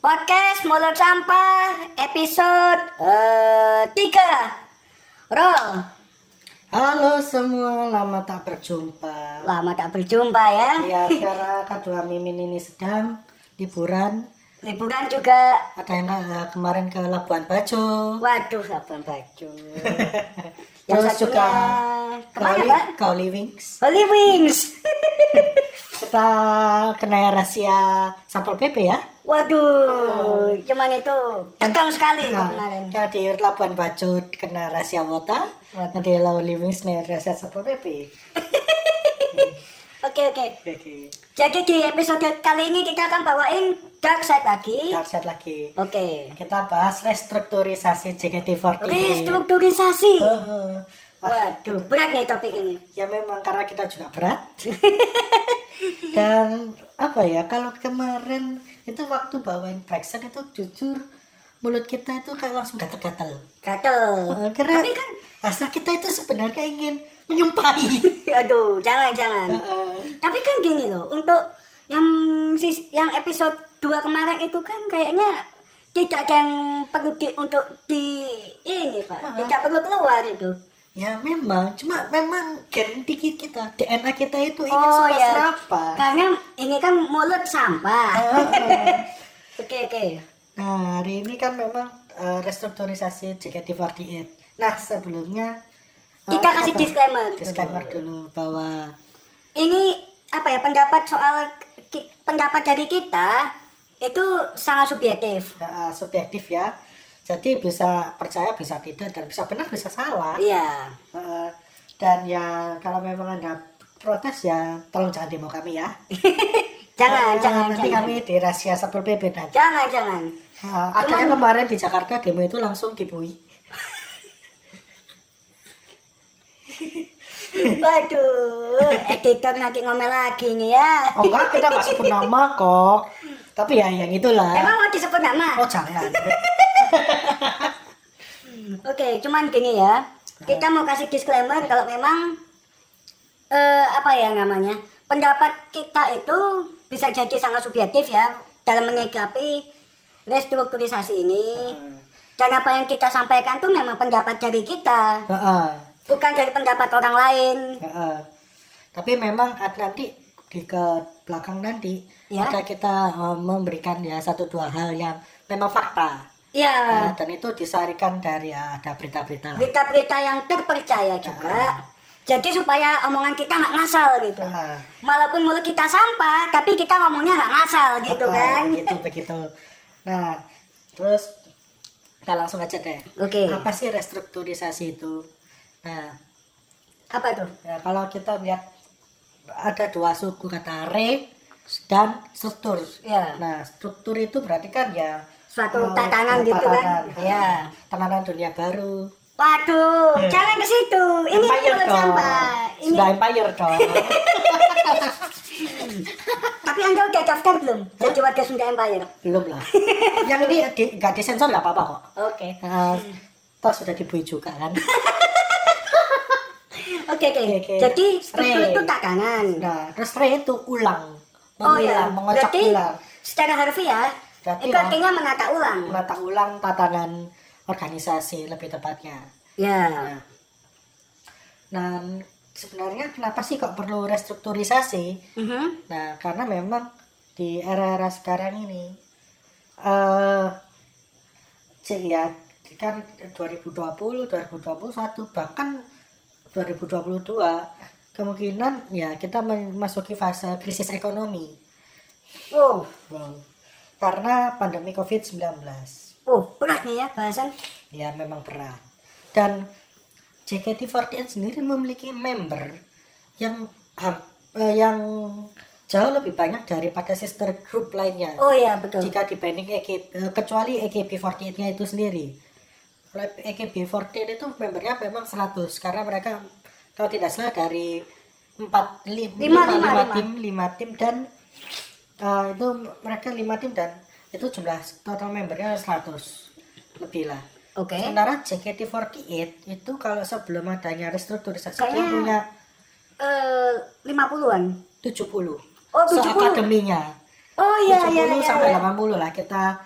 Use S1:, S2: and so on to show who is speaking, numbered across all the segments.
S1: Podcast Mulut Sampah episode eh, 3 Roll
S2: Halo semua, lama tak berjumpa.
S1: Lama tak berjumpa ya
S2: Ya, karena kedua mimin ini sedang liburan.
S1: Liburan juga
S2: Ada yang eh, kemarin ke Labuan Bajo,
S1: Waduh sabun baju Yang
S2: terus
S1: satunya
S2: juga
S1: Kemana
S2: Kauli-
S1: Pak?
S2: Kauli Wings.
S1: Holy Wings
S2: Kita kena rahasia sampel PP ya.
S1: Waduh Cuman itu Tegang sekali Iya, kemarin
S2: Nah, di Labuan Bajo kena rahasia wota,
S1: Wota.
S2: di Kauli Wings kena rahasia sampel PP.
S1: Oke oke
S2: Jadi,
S1: Jadi di episode kali ini kita akan bawain Dark Side lagi
S2: kita lihat lagi.
S1: Oke
S2: Kita bahas restrukturisasi JKT48.
S1: Restrukturisasi
S2: Heeh.
S1: Waduh berat nih topik ini
S2: ya memang karena kita juga berat dan apa ya kalau kemarin itu waktu bawain Brexit itu jujur mulut kita itu kayak langsung gatel-gatel
S1: Gatel
S2: Eh, karena
S1: Tapi kan-
S2: rasa kita itu sebenarnya ingin menyumpahi
S1: Aduh, jangan jangan. Tapi kan gini loh, untuk yang sis- yang episode 2 kemarin itu kan kayaknya tidak ada yang perlu di, untuk di ini pak, tidak perlu keluar itu.
S2: ya memang cuma memang gen dikit kita DNA kita itu ingin
S1: Oh
S2: suka
S1: ya,
S2: serapa
S1: karena ini kan mulut sampah. Oke oke.
S2: nah hari ini kan memang eh, restrukturisasi JKT48 nah sebelumnya eh,
S1: Kita kasih
S2: apa?
S1: disclaimer. dulu.
S2: disclaimer dulu bahwa
S1: Ini apa ya pendapat soal ki- pendapat dari kita itu sangat subjektif.
S2: uh, subjektif ya. Jadi bisa percaya, bisa tidak, dan bisa benar, bisa salah.
S1: Iya.
S2: Uh, dan ya kalau memang anda protes ya tolong jangan demo kami ya.
S1: Jangan
S2: Uh,
S1: jangan
S2: nanti
S1: jangan.
S2: kami di rahasia satpol pp nanti.
S1: Jangan jangan.
S2: Uh, ada yang Eh, kemarin di Jakarta demo itu langsung dibui.
S1: Waduh, editor nanti ngomel lagi nih ya.
S2: Oh enggak, kita nggak sebut nama kok. Tapi ya yang itulah.
S1: Emang mau disebut nama?
S2: Oh jangan.
S1: Oke, cuman gini ya. Kita mau kasih disclaimer kalau memang eh apa ya namanya? Pendapat kita itu bisa jadi sangat subjektif ya dalam menyikapi restrukturisasi ini. Dan apa yang kita sampaikan tuh memang pendapat dari kita,
S2: Heeh.
S1: bukan dari pendapat orang lain.
S2: Heeh. Tapi memang at- nanti di ke belakang nanti
S1: Ya.
S2: ada kita eh, memberikan ya satu dua hal yang memang fakta.
S1: Ya,
S2: Ya, dan itu disarikan dari ya, ada berita-berita.
S1: berita-berita yang terpercaya juga. Jadi supaya omongan kita nggak ngasal gitu.
S2: Ah,
S1: Walaupun mulut kita sampah, tapi kita ngomongnya nggak ngasal gitu
S2: apa,
S1: kan?
S2: Gitu begitu. Nah, terus kita langsung aja deh.
S1: Oke.
S2: Apa sih restrukturisasi itu? Nah,
S1: Apa tuh?
S2: ya, kalau kita lihat ada dua suku kata re dan struktur.
S1: Ya.
S2: Nah, struktur itu berarti kan ya
S1: Suatu
S2: eh,
S1: tatanan gitu kan?
S2: tatanan. Iya,
S1: Ya.
S2: Tatanan dunia baru.
S1: Waduh, jangan ke situ. Ini
S2: Empire
S1: mulut
S2: dong.
S1: sampah. Ini.
S2: ya, Sudah empire dong.
S1: Tapi Anda udah daftar belum? Jadi warga Sunda Empire.
S2: belum lah yang ini di, gak disensor nggak apa-apa kok
S1: Oke.
S2: Eh, toh sudah dibui juga kan
S1: Oke oke.
S2: Oke, oke.
S1: Jadi struktur
S2: Re.
S1: itu tatanan.
S2: nah terus re itu ulang
S1: Oh
S2: mengulang
S1: ya.
S2: mengocok
S1: Berarti
S2: ulang
S1: secara harfiah
S2: Berarti
S1: itu
S2: lah.
S1: artinya menata ulang.
S2: menata ulang tatanan organisasi lebih tepatnya
S1: Ya.
S2: nah, nah sebenarnya kenapa sih kok perlu restrukturisasi
S1: Mhm.
S2: Nah, karena memang di era-era sekarang ini eh cek ya kan 2020, 2021 bahkan 2022 kemungkinan ya kita memasuki fase krisis ekonomi.
S1: Wow.
S2: Wow. Karena pandemi Covid-19.
S1: Oh, berat nih ya bahasan.
S2: Ya memang berat. Dan JKT48 sendiri memiliki member yang ham- eh, yang jauh lebih banyak daripada sister group lainnya.
S1: Oh ya betul.
S2: Jika dibanding EKB, eh, kecuali AKB48-nya itu sendiri. Kalau AKB48 itu membernya memang 100 karena mereka kalau tidak salah dari 4 5
S1: Lima, lima, lima.
S2: tim, 5 tim dan eh, itu mereka 5 tim dan itu jumlah total membernya 100 lebih lah.
S1: Oke.
S2: Sementara JKT48 itu kalau sebelum adanya restrukturisasi dia
S1: Kayaknya-
S2: punya
S1: Eh, 50-an.
S2: 70.
S1: Oh, 70.
S2: Seakademinya.
S1: Oh iya iya
S2: 70
S1: iya.
S2: sampai
S1: iya.
S2: 80 lah kita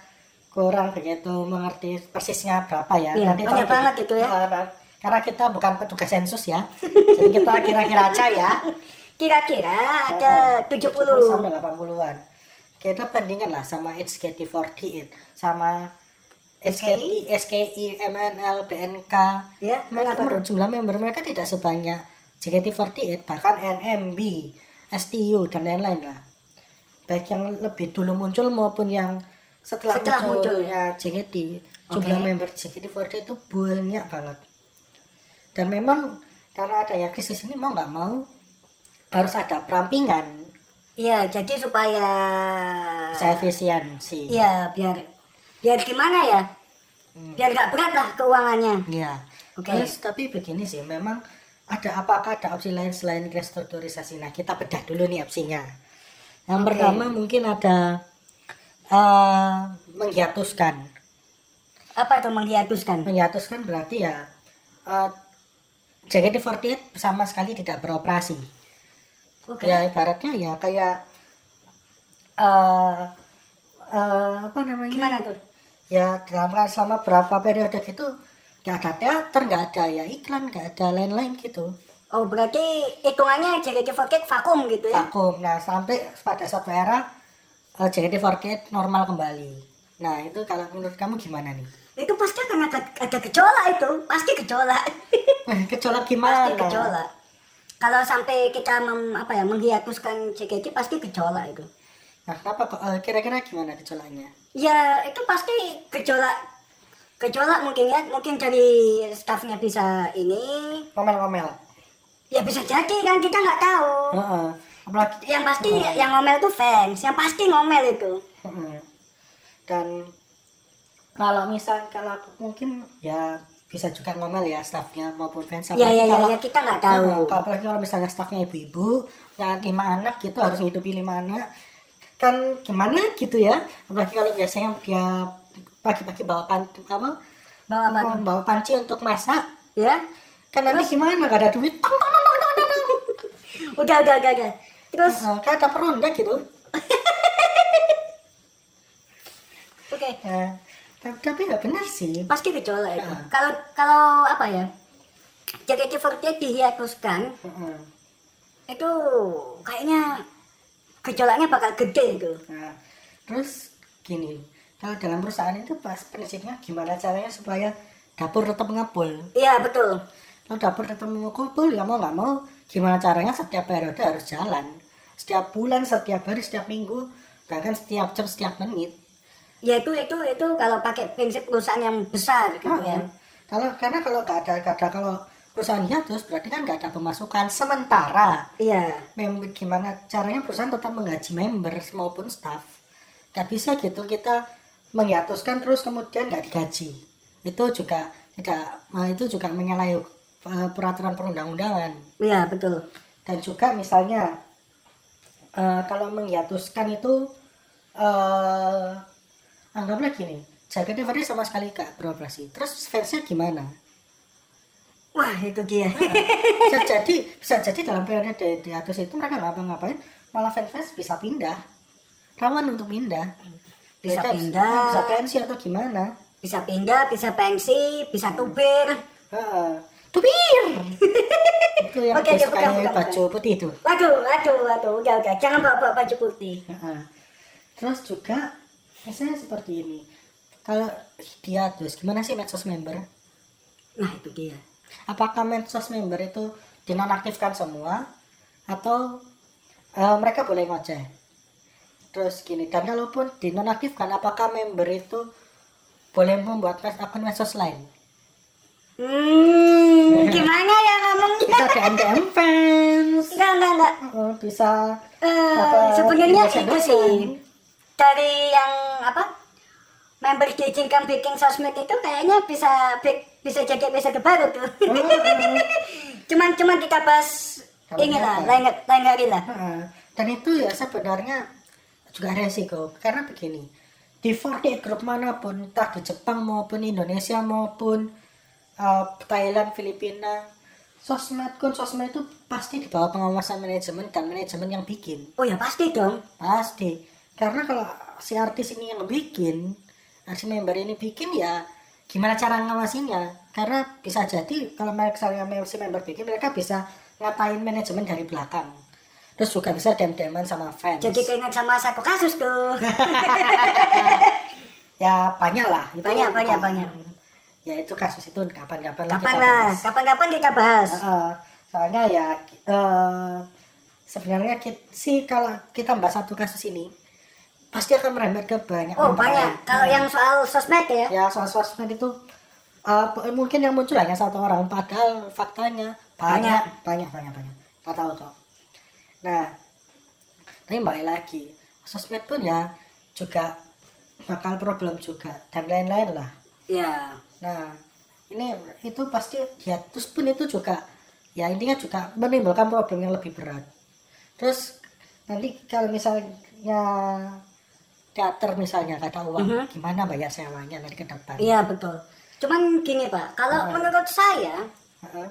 S2: kurang begitu mengerti persisnya berapa ya.
S1: Iya, banyak
S2: kalau-
S1: banget itu ya.
S2: Karena- Karena kita bukan petugas sensus ya. Jadi kita kira-kira aja ya.
S1: Kira-kira ada
S2: 70
S1: 70.
S2: sampai 80-an. Kita bandingkan lah sama HKT48 sama HKI, SKI, MNL, BNK.
S1: Ya, kenapa
S2: Mereka
S1: tuh?
S2: menurut jumlah member mereka tidak sebanyak JKT48 bahkan NMB, STU dan lain-lain lah. Baik yang lebih dulu muncul maupun yang setelah,
S1: Setelah
S2: munculnya JKT. Jumlah member JKT48 itu banyak banget. Dan memang karena adanya krisis ini mau nggak mau harus ada perampingan
S1: Iya, jadi supaya Nah.
S2: saya efisiensi.
S1: Iya, biar biar gimana ya?
S2: Hmm.
S1: Biar nggak berat lah keuangannya.
S2: Iya.
S1: Oke.
S2: Terus tapi begini sih, memang ada apakah ada opsi lain selain restrukturisasi? Nah, kita bedah dulu nih opsinya. Yang
S1: Oke.
S2: pertama mungkin ada eh menghiatuskan.
S1: Apa itu menghiatuskan?
S2: Menghiatuskan berarti ya eh JKT48 sama sekali tidak beroperasi.
S1: Oke.
S2: Ya ibaratnya ya kayak eh eh, apa namanya?
S1: Gimana tuh?
S2: ya dalam kan selama berapa periode gitu nggak ada teater nggak ada ya iklan nggak ada lain-lain gitu
S1: Oh, berarti hitungannya JKT48 vakum gitu ya?
S2: vakum nah sampai pada suatu era eh, JKT48 normal kembali nah itu kalau menurut kamu gimana nih
S1: Itu pasti akan ada, ada gejolak itu. Pasti gejolak.
S2: kecolok
S1: pasti
S2: gimana
S1: gejolak. Kalau sampai kita mem- apa ya menghiatuskan JKT pasti gejolak itu.
S2: nah kenapa kok eh, kira-kira gimana kecolaknya
S1: Ya itu pasti gejolak gejolak mungkin ya mungkin dari staffnya bisa ini
S2: ngomel-ngomel
S1: ya bisa jadi kan kita nggak tahu
S2: Heeh. apalagi
S1: yang pasti
S2: Oh.
S1: yang ngomel tuh fans yang pasti ngomel itu
S2: Mm-mm. Dan kalau misal kalau mungkin Iya, ya bisa juga ngomel ya staffnya maupun fans.
S1: ya
S2: Apalagi
S1: ya ya,
S2: kalau-
S1: ya, kita nggak tahu
S2: Nah, kalau- apalagi kalau misalnya staffnya ibu-ibu, yang lima anak gitu harus hidupi lima anak. Kan gimana gitu ya? Apalagi kalau biasanya dia pagi-pagi bawa panci apa?
S1: bawa apa tuh?
S2: Bawa panci untuk masak.
S1: ya
S2: Kan nanti gimana? Gak ada duit. Tong, tong, tong, tong, tong, tong.
S1: udah udah udah, udah. terus
S2: Nah, Kayak ada peronda gitu.
S1: oke
S2: Ya. Tapi, tapi ya benar sih.
S1: pasti gejolak itu
S2: Heeh.
S1: kalau kalau apa ya JKT48 dihiatuskan
S2: Heeh.
S1: itu kayaknya gejolaknya bakal gede gitu. itu
S2: Nah, terus gini, kalau dalam perusahaan itu pas prinsipnya gimana caranya supaya dapur tetap ngepul.
S1: iya betul
S2: Kalau dapur tetap ngepul, ya mau nggak mau, gimana caranya setiap periode harus jalan. Setiap bulan, setiap hari, setiap minggu, bahkan setiap jam, setiap menit.
S1: ya itu itu itu kalau pakai prinsip perusahaan yang besar gitu ya
S2: Nah, Kalau karena kalau nggak ada, nggak ada kalau perusahaan hiatus berarti kan nggak ada pemasukan sementara.
S1: iya
S2: member gimana caranya perusahaan tetap menggaji member maupun staff nggak bisa gitu kita menghiatuskan terus kemudian nggak digaji itu juga tidak nah, itu juga menyalahi eh, peraturan perundang-undangan
S1: iya betul
S2: dan juga misalnya eh, kalau menghiatuskan itu eh anggaplah gini JKT sama sekali nggak beroperasi terus fansnya gimana
S1: wah itu dia
S2: bisa jadi bisa jadi dalam periode di, di atas itu mereka nggak ngapa-ngapain malah fans-fans bisa pindah rawan untuk pindah
S1: Bisa
S2: Mereka
S1: pindah.
S2: bisa pensi atau gimana
S1: bisa pindah bisa pensi bisa tubir
S2: Heeh. tubir itu yang
S1: Oke, oke,
S2: dia sukanya
S1: bukan, bukan,
S2: baju putih itu
S1: waduh waduh waduh udah udah jangan bawa bawa baju putih
S2: Heeh. terus juga misalnya seperti ini kalau dia terus gimana sih medsos member
S1: nah itu dia
S2: apakah medsos member itu dinonaktifkan semua atau eh, mereka boleh ngoceh terus gini dan kalaupun dinonaktifkan apakah member itu boleh membuat mes- akun medsos lain
S1: hmm gimana ya ngomongnya
S2: bisa DM DM fans
S1: enggak enggak enggak
S2: Oh, bisa
S1: Eh,
S2: Apa,
S1: sebenarnya
S2: biasa
S1: itu
S2: doang.
S1: sih dari yang apa member diizinkan bikin sosmed itu kayaknya bisa bi- bisa jadi episode baru tuh cuman cuman kita bahas
S2: Kalau
S1: inilah
S2: kenapa?
S1: lain lain hari lah
S2: Heeh. dan itu ya sebenarnya juga resiko karena begini di 48 grup manapun entah di Jepang maupun Indonesia maupun eh, Thailand Filipina sosmed kun sosmed itu pasti di bawah pengawasan manajemen dan manajemen yang bikin
S1: oh ya pasti dong
S2: pasti karena kalau si artis ini yang bikin aksi member ini bikin ya gimana cara ngawasinya karena bisa jadi kalau misalnya si member bikin mereka bisa ngatain manajemen dari belakang terus juga bisa dem-deman sama fans
S1: Jadi keinget sama satu kasus tuh.
S2: ya banyak lah itu
S1: Banyak, banyak,
S2: kapan-
S1: banyak.
S2: ya itu kasus itu kapan-kapan lah
S1: Kapan
S2: kita
S1: lah,
S2: bahas.
S1: kapan-kapan kita bahas.
S2: Heeh. soalnya ya eh, sebenarnya kit- sih kalau kita bahas satu kasus ini pasti akan merembet ke banyak
S1: Oh
S2: orang
S1: banyak.
S2: lain.
S1: Kalau yang soal sosmed ya,
S2: ya soal sosmed itu eh, p- mungkin yang muncul hanya satu orang padahal faktanya banyak banyak banyak banyak nggak tahu kok nah tapi balik lagi sosmed pun ya juga bakal problem juga dan lain-lain lah
S1: ya
S2: Nah, ini itu pasti ya terus pun itu juga ya intinya juga menimbulkan problem yang lebih berat. Terus nanti kalau misalnya teater misalnya nggak ada uang,
S1: Mhm.
S2: gimana bayar sewanya nanti ke depan?
S1: iya betul. Cuman gini pak, kalau menurut saya
S2: Heeh.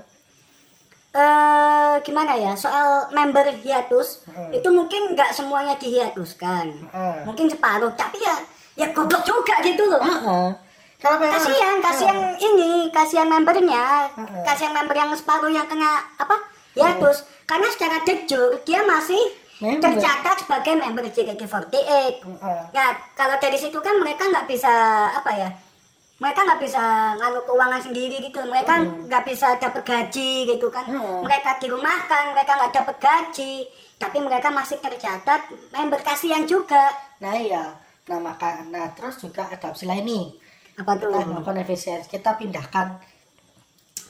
S1: eh gimana ya soal member hiatus
S2: Hmm.
S1: itu mungkin nggak semuanya dihiatuskan,
S2: Hmm.
S1: mungkin separuh. Tapi ya ya goblok juga gitu loh.
S2: Heeh. Kalau memang-
S1: Kasihan, kasihan ini, kasihan membernya,
S2: Heeh.
S1: kasihan member yang separuh yang kena apa? Hiatus. Karena secara jujur dia masih
S2: Member.
S1: tercatat sebagai member JKT48.
S2: Heeh.
S1: Nah, kalau dari situ kan mereka nggak bisa apa ya? Mereka nggak bisa ngaruh keuangan sendiri gitu. Mereka nggak bisa dapat gaji gitu kan.
S2: Hmm.
S1: Mereka dirumahkan, mereka nggak dapat gaji. Tapi mereka masih tercatat member kasihan juga.
S2: Nah iya, nah maka nah terus juga ada opsi lain nih.
S1: Apa tuh?
S2: Kita melakukan efisiensi, kita pindahkan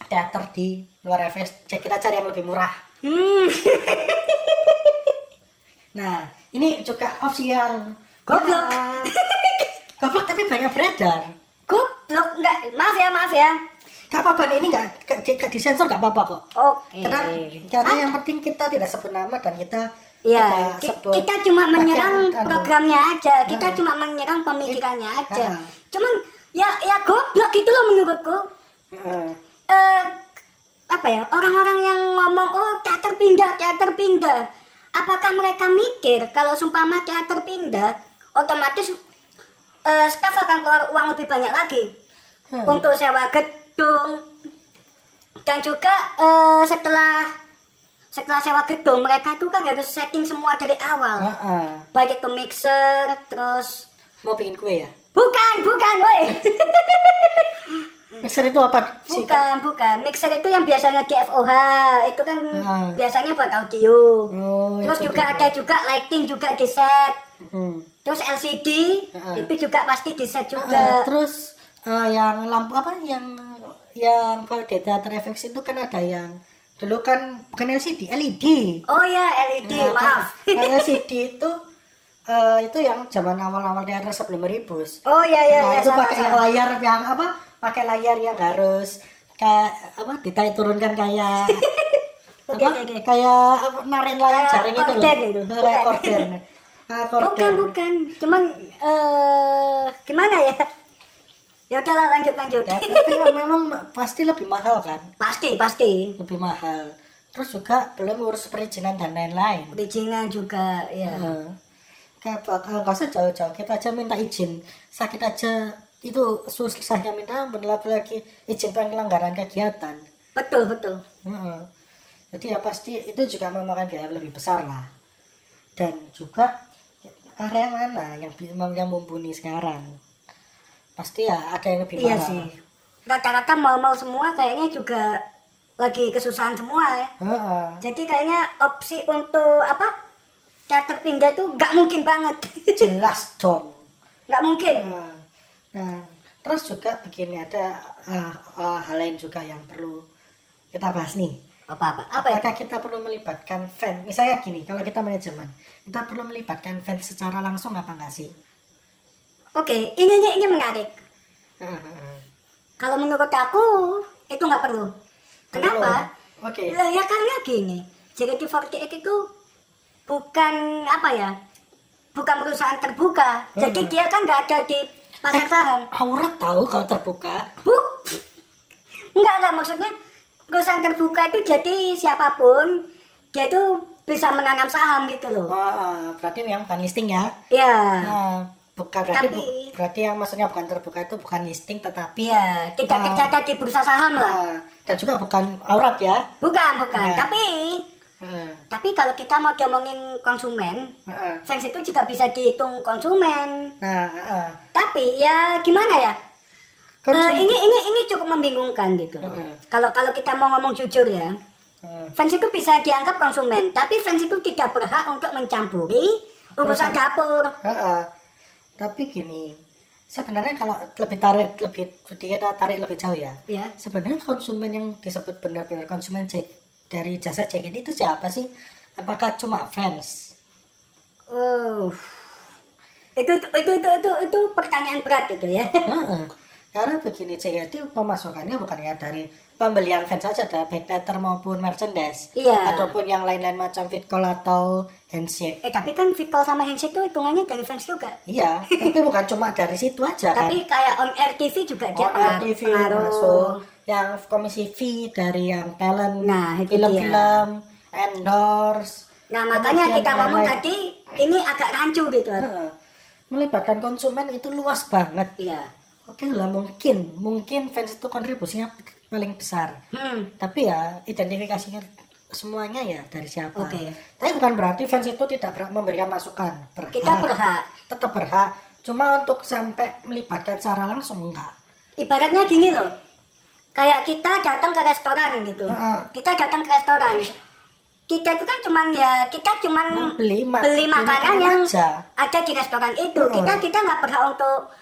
S2: teater di luar FS, kita cari yang lebih murah.
S1: Hmm,
S2: Nah, ini juga opsi yang
S1: Goblok.
S2: Ya, goblok tapi banyak beredar.
S1: goblok nggak? Maaf ya, maaf ya.
S2: Gak apa-apa nih, ini gak, gak, gak disensor gak apa-apa kok.
S1: Oke.
S2: Karena, karena yang penting kita tidak sebut nama dan kita
S1: Ya,
S2: tidak
S1: ki-
S2: iya, sebut
S1: ya,
S2: anu.
S1: kita cuma
S2: bagian
S1: menyerang
S2: atau-
S1: programnya aja, kita
S2: Nah.
S1: cuma menyerang pemikirannya aja.
S2: Nah.
S1: Cuman ya ya goblok gitu loh menurutku.
S2: Heeh.
S1: eh apa ya orang-orang yang ngomong oh teater pindah teater pindah apakah mereka mikir kalau sumpama teater pindah otomatis eh staff akan keluar uang lebih banyak lagi
S2: Hmm.
S1: untuk sewa gedung dan juga eh, setelah setelah sewa gedung mereka itu kan harus setting semua dari awal
S2: Heeh.
S1: baik itu mixer terus
S2: Mau bikin kue ya?
S1: bukan bukan woi
S2: Mixer Hmm. itu apa sih?
S1: Bukan, bukan. Mixer itu yang biasanya di FOH, itu kan
S2: Hmm.
S1: biasanya buat audio.
S2: Oh,
S1: Terus
S2: itu
S1: juga ada juga lighting juga di set.
S2: Hmm.
S1: Terus LCD
S2: Hmm.
S1: itu juga pasti di set
S2: Eh,
S1: juga.
S2: terus eh, yang lampu apa yang yang kalau di teater FX itu kan ada yang dulu kan bukan LCD, LED.
S1: Oh ya, LED,
S2: Nah,
S1: maaf.
S2: kan LCD itu eh, itu yang zaman awal-awal daerah sebelum meribus.
S1: Oh ya ya
S2: nah,
S1: ya.
S2: itu
S1: sama,
S2: pakai
S1: sama.
S2: layar yang apa? Pakai layar yang harus kayak apa? Ditarik turunkan kayak
S1: Oke,
S2: apa?
S1: oke, oke.
S2: Kayak apa, narik layar
S1: Kayak
S2: jaring itu
S1: korden itu,
S2: loh.
S1: bukan.
S2: Kayak korden. Kayak
S1: Bukan,
S2: korden.
S1: bukan. Cuman eh gimana ya? Ya udahlah lanjut lanjut.
S2: Ya, tapi memang pasti lebih mahal kan?
S1: pasti, pasti.
S2: lebih mahal terus juga belum ngurus perizinan dan lain-lain
S1: Perizinan juga ya.
S2: Heeh. kayak bakal nggak usah jauh-jauh kita aja minta izin sakit aja itu susahnya minta ampun lagi izin pelanggaran kegiatan
S1: Betul, betul.
S2: Heeh. jadi ya pasti itu juga memakan biaya lebih besar lah dan juga area mana yang bi- yang mumpuni sekarang pasti ya ada yang lebih
S1: Iya
S2: mahal
S1: sih. Rata-rata mau-mau semua kayaknya juga lagi kesusahan semua ya.
S2: Heeh.
S1: Jadi kayaknya opsi untuk apa? Teater pindah tuh nggak mungkin banget. Iya.
S2: jelas dong
S1: Nggak mungkin.
S2: Nah, nah, terus juga begini ada ah, ah, hal lain juga yang perlu kita bahas nih.
S1: Apa-apa? Apa ya?
S2: Apakah kita perlu melibatkan fan? Misalnya gini, kalau kita manajemen, kita perlu melibatkan fan secara langsung apa enggak sih?
S1: Oke, ini ini, ini menarik. Kalau menurut aku itu nggak perlu. Kenapa?
S2: Perlu. Oke.
S1: Lah, Ya karena gini, JKT48 itu bukan apa ya? Bukan perusahaan terbuka. Jadi
S2: Hmm.
S1: dia kan nggak ada di pasar saham.
S2: Aurat tahu kalau terbuka.
S1: Bu, enggak enggak maksudnya perusahaan terbuka itu jadi siapapun dia itu bisa menanam saham gitu loh.
S2: Oh, Wah, berarti yang bukan listing ya.
S1: Ya,
S2: Nah, bukan berarti, bu-
S1: Tapi-
S2: berarti yang maksudnya bukan terbuka itu bukan listing tetapi
S1: Iya, tidak
S2: Ah.
S1: tercatat di bursa saham lah.
S2: eh, dan juga bukan aurat ya
S1: Bukan, bukan.
S2: Nah.
S1: Tapi
S2: Heeh.
S1: tapi kalau kita mau ngomongin konsumen,
S2: Heeh.
S1: seks itu juga bisa dihitung konsumen.
S2: Eh, nah heeh.
S1: Tapi ya gimana ya?
S2: Konsumen-
S1: Eh, ini
S2: gitu.
S1: ini ini cukup membingungkan gitu.
S2: Heeh.
S1: Kalau kalau kita mau ngomong jujur ya,
S2: Heeh.
S1: fans itu bisa dianggap konsumen, tapi fans itu tidak berhak untuk mencampuri urusan dapur.
S2: Heeh. eh, tapi gini sebenarnya kalau lebih tarik lebih kita tarik lebih jauh ya
S1: Ya.
S2: sebenarnya konsumen yang disebut benar-benar konsumen cek dari jasa check in itu siapa sih apakah cuma fans
S1: Uh. Itu, itu itu itu itu itu pertanyaan berat itu ya.
S2: Heeh. karena begini check itu pemasukannya bukannya ya dari pembelian fans saja ada backletter maupun merchandise
S1: Iya.
S2: ataupun yang lain-lain macam fit call atau handshake
S1: Eh tapi kan Victor sama handshake itu hitungannya dari fans juga.
S2: iya tapi bukan cuma dari situ aja kan
S1: Tapi kayak on air TV juga dia pengaruh.
S2: TV
S1: pengaruh.
S2: masuk yang komisi fee dari yang talent
S1: Nah, itu
S2: film-film endorse
S1: Nah makanya
S2: kemudian
S1: kita ngomong
S2: lain-lain.
S1: tadi ini agak rancu gitu.
S2: Heeh. melibatkan konsumen itu luas banget
S1: Iya.
S2: oke lah mungkin mungkin fans itu kontribusinya paling besar
S1: Hmm.
S2: tapi ya identifikasinya semuanya ya dari siapa
S1: Oke.
S2: tapi bukan berarti fans itu tidak berhak memberikan masukan berhak
S1: Kita berhak.
S2: tetap berhak cuma untuk sampai melibatkan secara langsung enggak
S1: Ibaratnya gini loh. Kayak kita datang ke restoran gitu.
S2: Heeh.
S1: Kita datang ke restoran. Kita itu kan cuman ya kita cuman
S2: beli, ma-
S1: beli makanan yang
S2: aja
S1: ada di restoran itu.
S2: Heeh.
S1: Kita kita nggak berhak untuk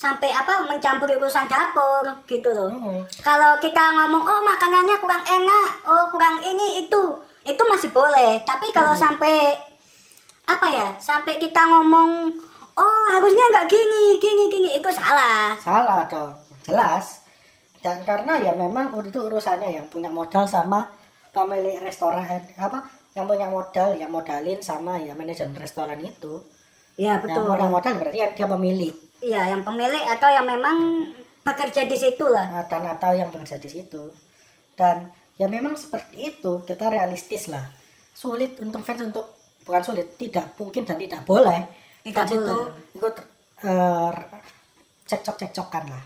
S1: sampai apa mencampuri urusan dapur gitu loh.
S2: Heeh.
S1: Kalau kita ngomong oh makanannya kurang enak, oh kurang ini itu, itu masih boleh. Tapi kalau sampai apa ya, sampai kita ngomong oh harusnya nggak gini, gini, gini, itu salah.
S2: salah dong jelas dan karena ya memang itu urusannya yang punya modal sama pemilik restoran apa yang punya modal yang modalin sama ya manajemen restoran itu
S1: Ya
S2: yang
S1: betul.
S2: modal modal berarti yang dia pemilik
S1: Iya yang pemilik atau yang memang bekerja di situ lah.
S2: Nah, dan atau yang bekerja di situ dan ya memang seperti itu kita realistis lah sulit untuk fans untuk bukan sulit tidak mungkin dan tidak boleh
S1: Tidak
S2: Fans itu ikut eh, cekcok cekcokan lah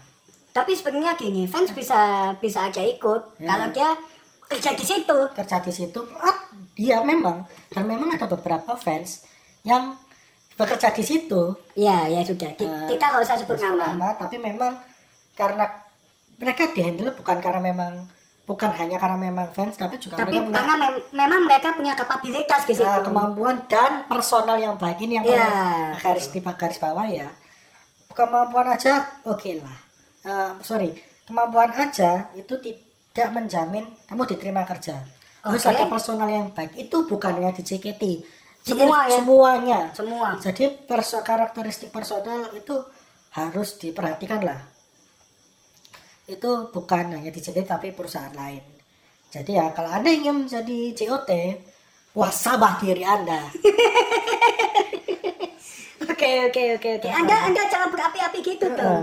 S1: Tapi sebenarnya gini, fans bisa bisa aja ikut
S2: Ya.
S1: kalau dia kerja di situ.
S2: kerja di situ ah, dia memang dan memang ada beberapa fans yang bekerja di situ
S1: Ya, ya sudah. Ki-
S2: Eh,
S1: Kita nggak usah sebut nama.
S2: lama tapi memang karena mereka dihandle bukan karena memang bukan hanya karena memang fans tapi juga
S1: Tapi
S2: mereka punya
S1: karena mem- memang mereka punya kapabilitas di situ.
S2: uh, kemampuan dan personal yang baik ini
S1: Ah.
S2: yang
S1: Iya.
S2: perlu garis di garis bawah ya kemampuan aja oke lah Eh, sorry kemampuan aja itu tidak menjamin kamu diterima kerja harus
S1: Oke.
S2: ada personal yang baik itu bukannya di JKT
S1: Semua ya?
S2: semuanya
S1: Semua.
S2: jadi perso karakteristik personal itu harus diperhatikan lah itu bukan hanya di JKT tapi perusahaan lain jadi ya kalau anda ingin menjadi JOT wasabah diri anda
S1: Oke, oke, oke, oke. Anda Anda jangan berapi-api gitu
S2: Heeh.
S1: tuh.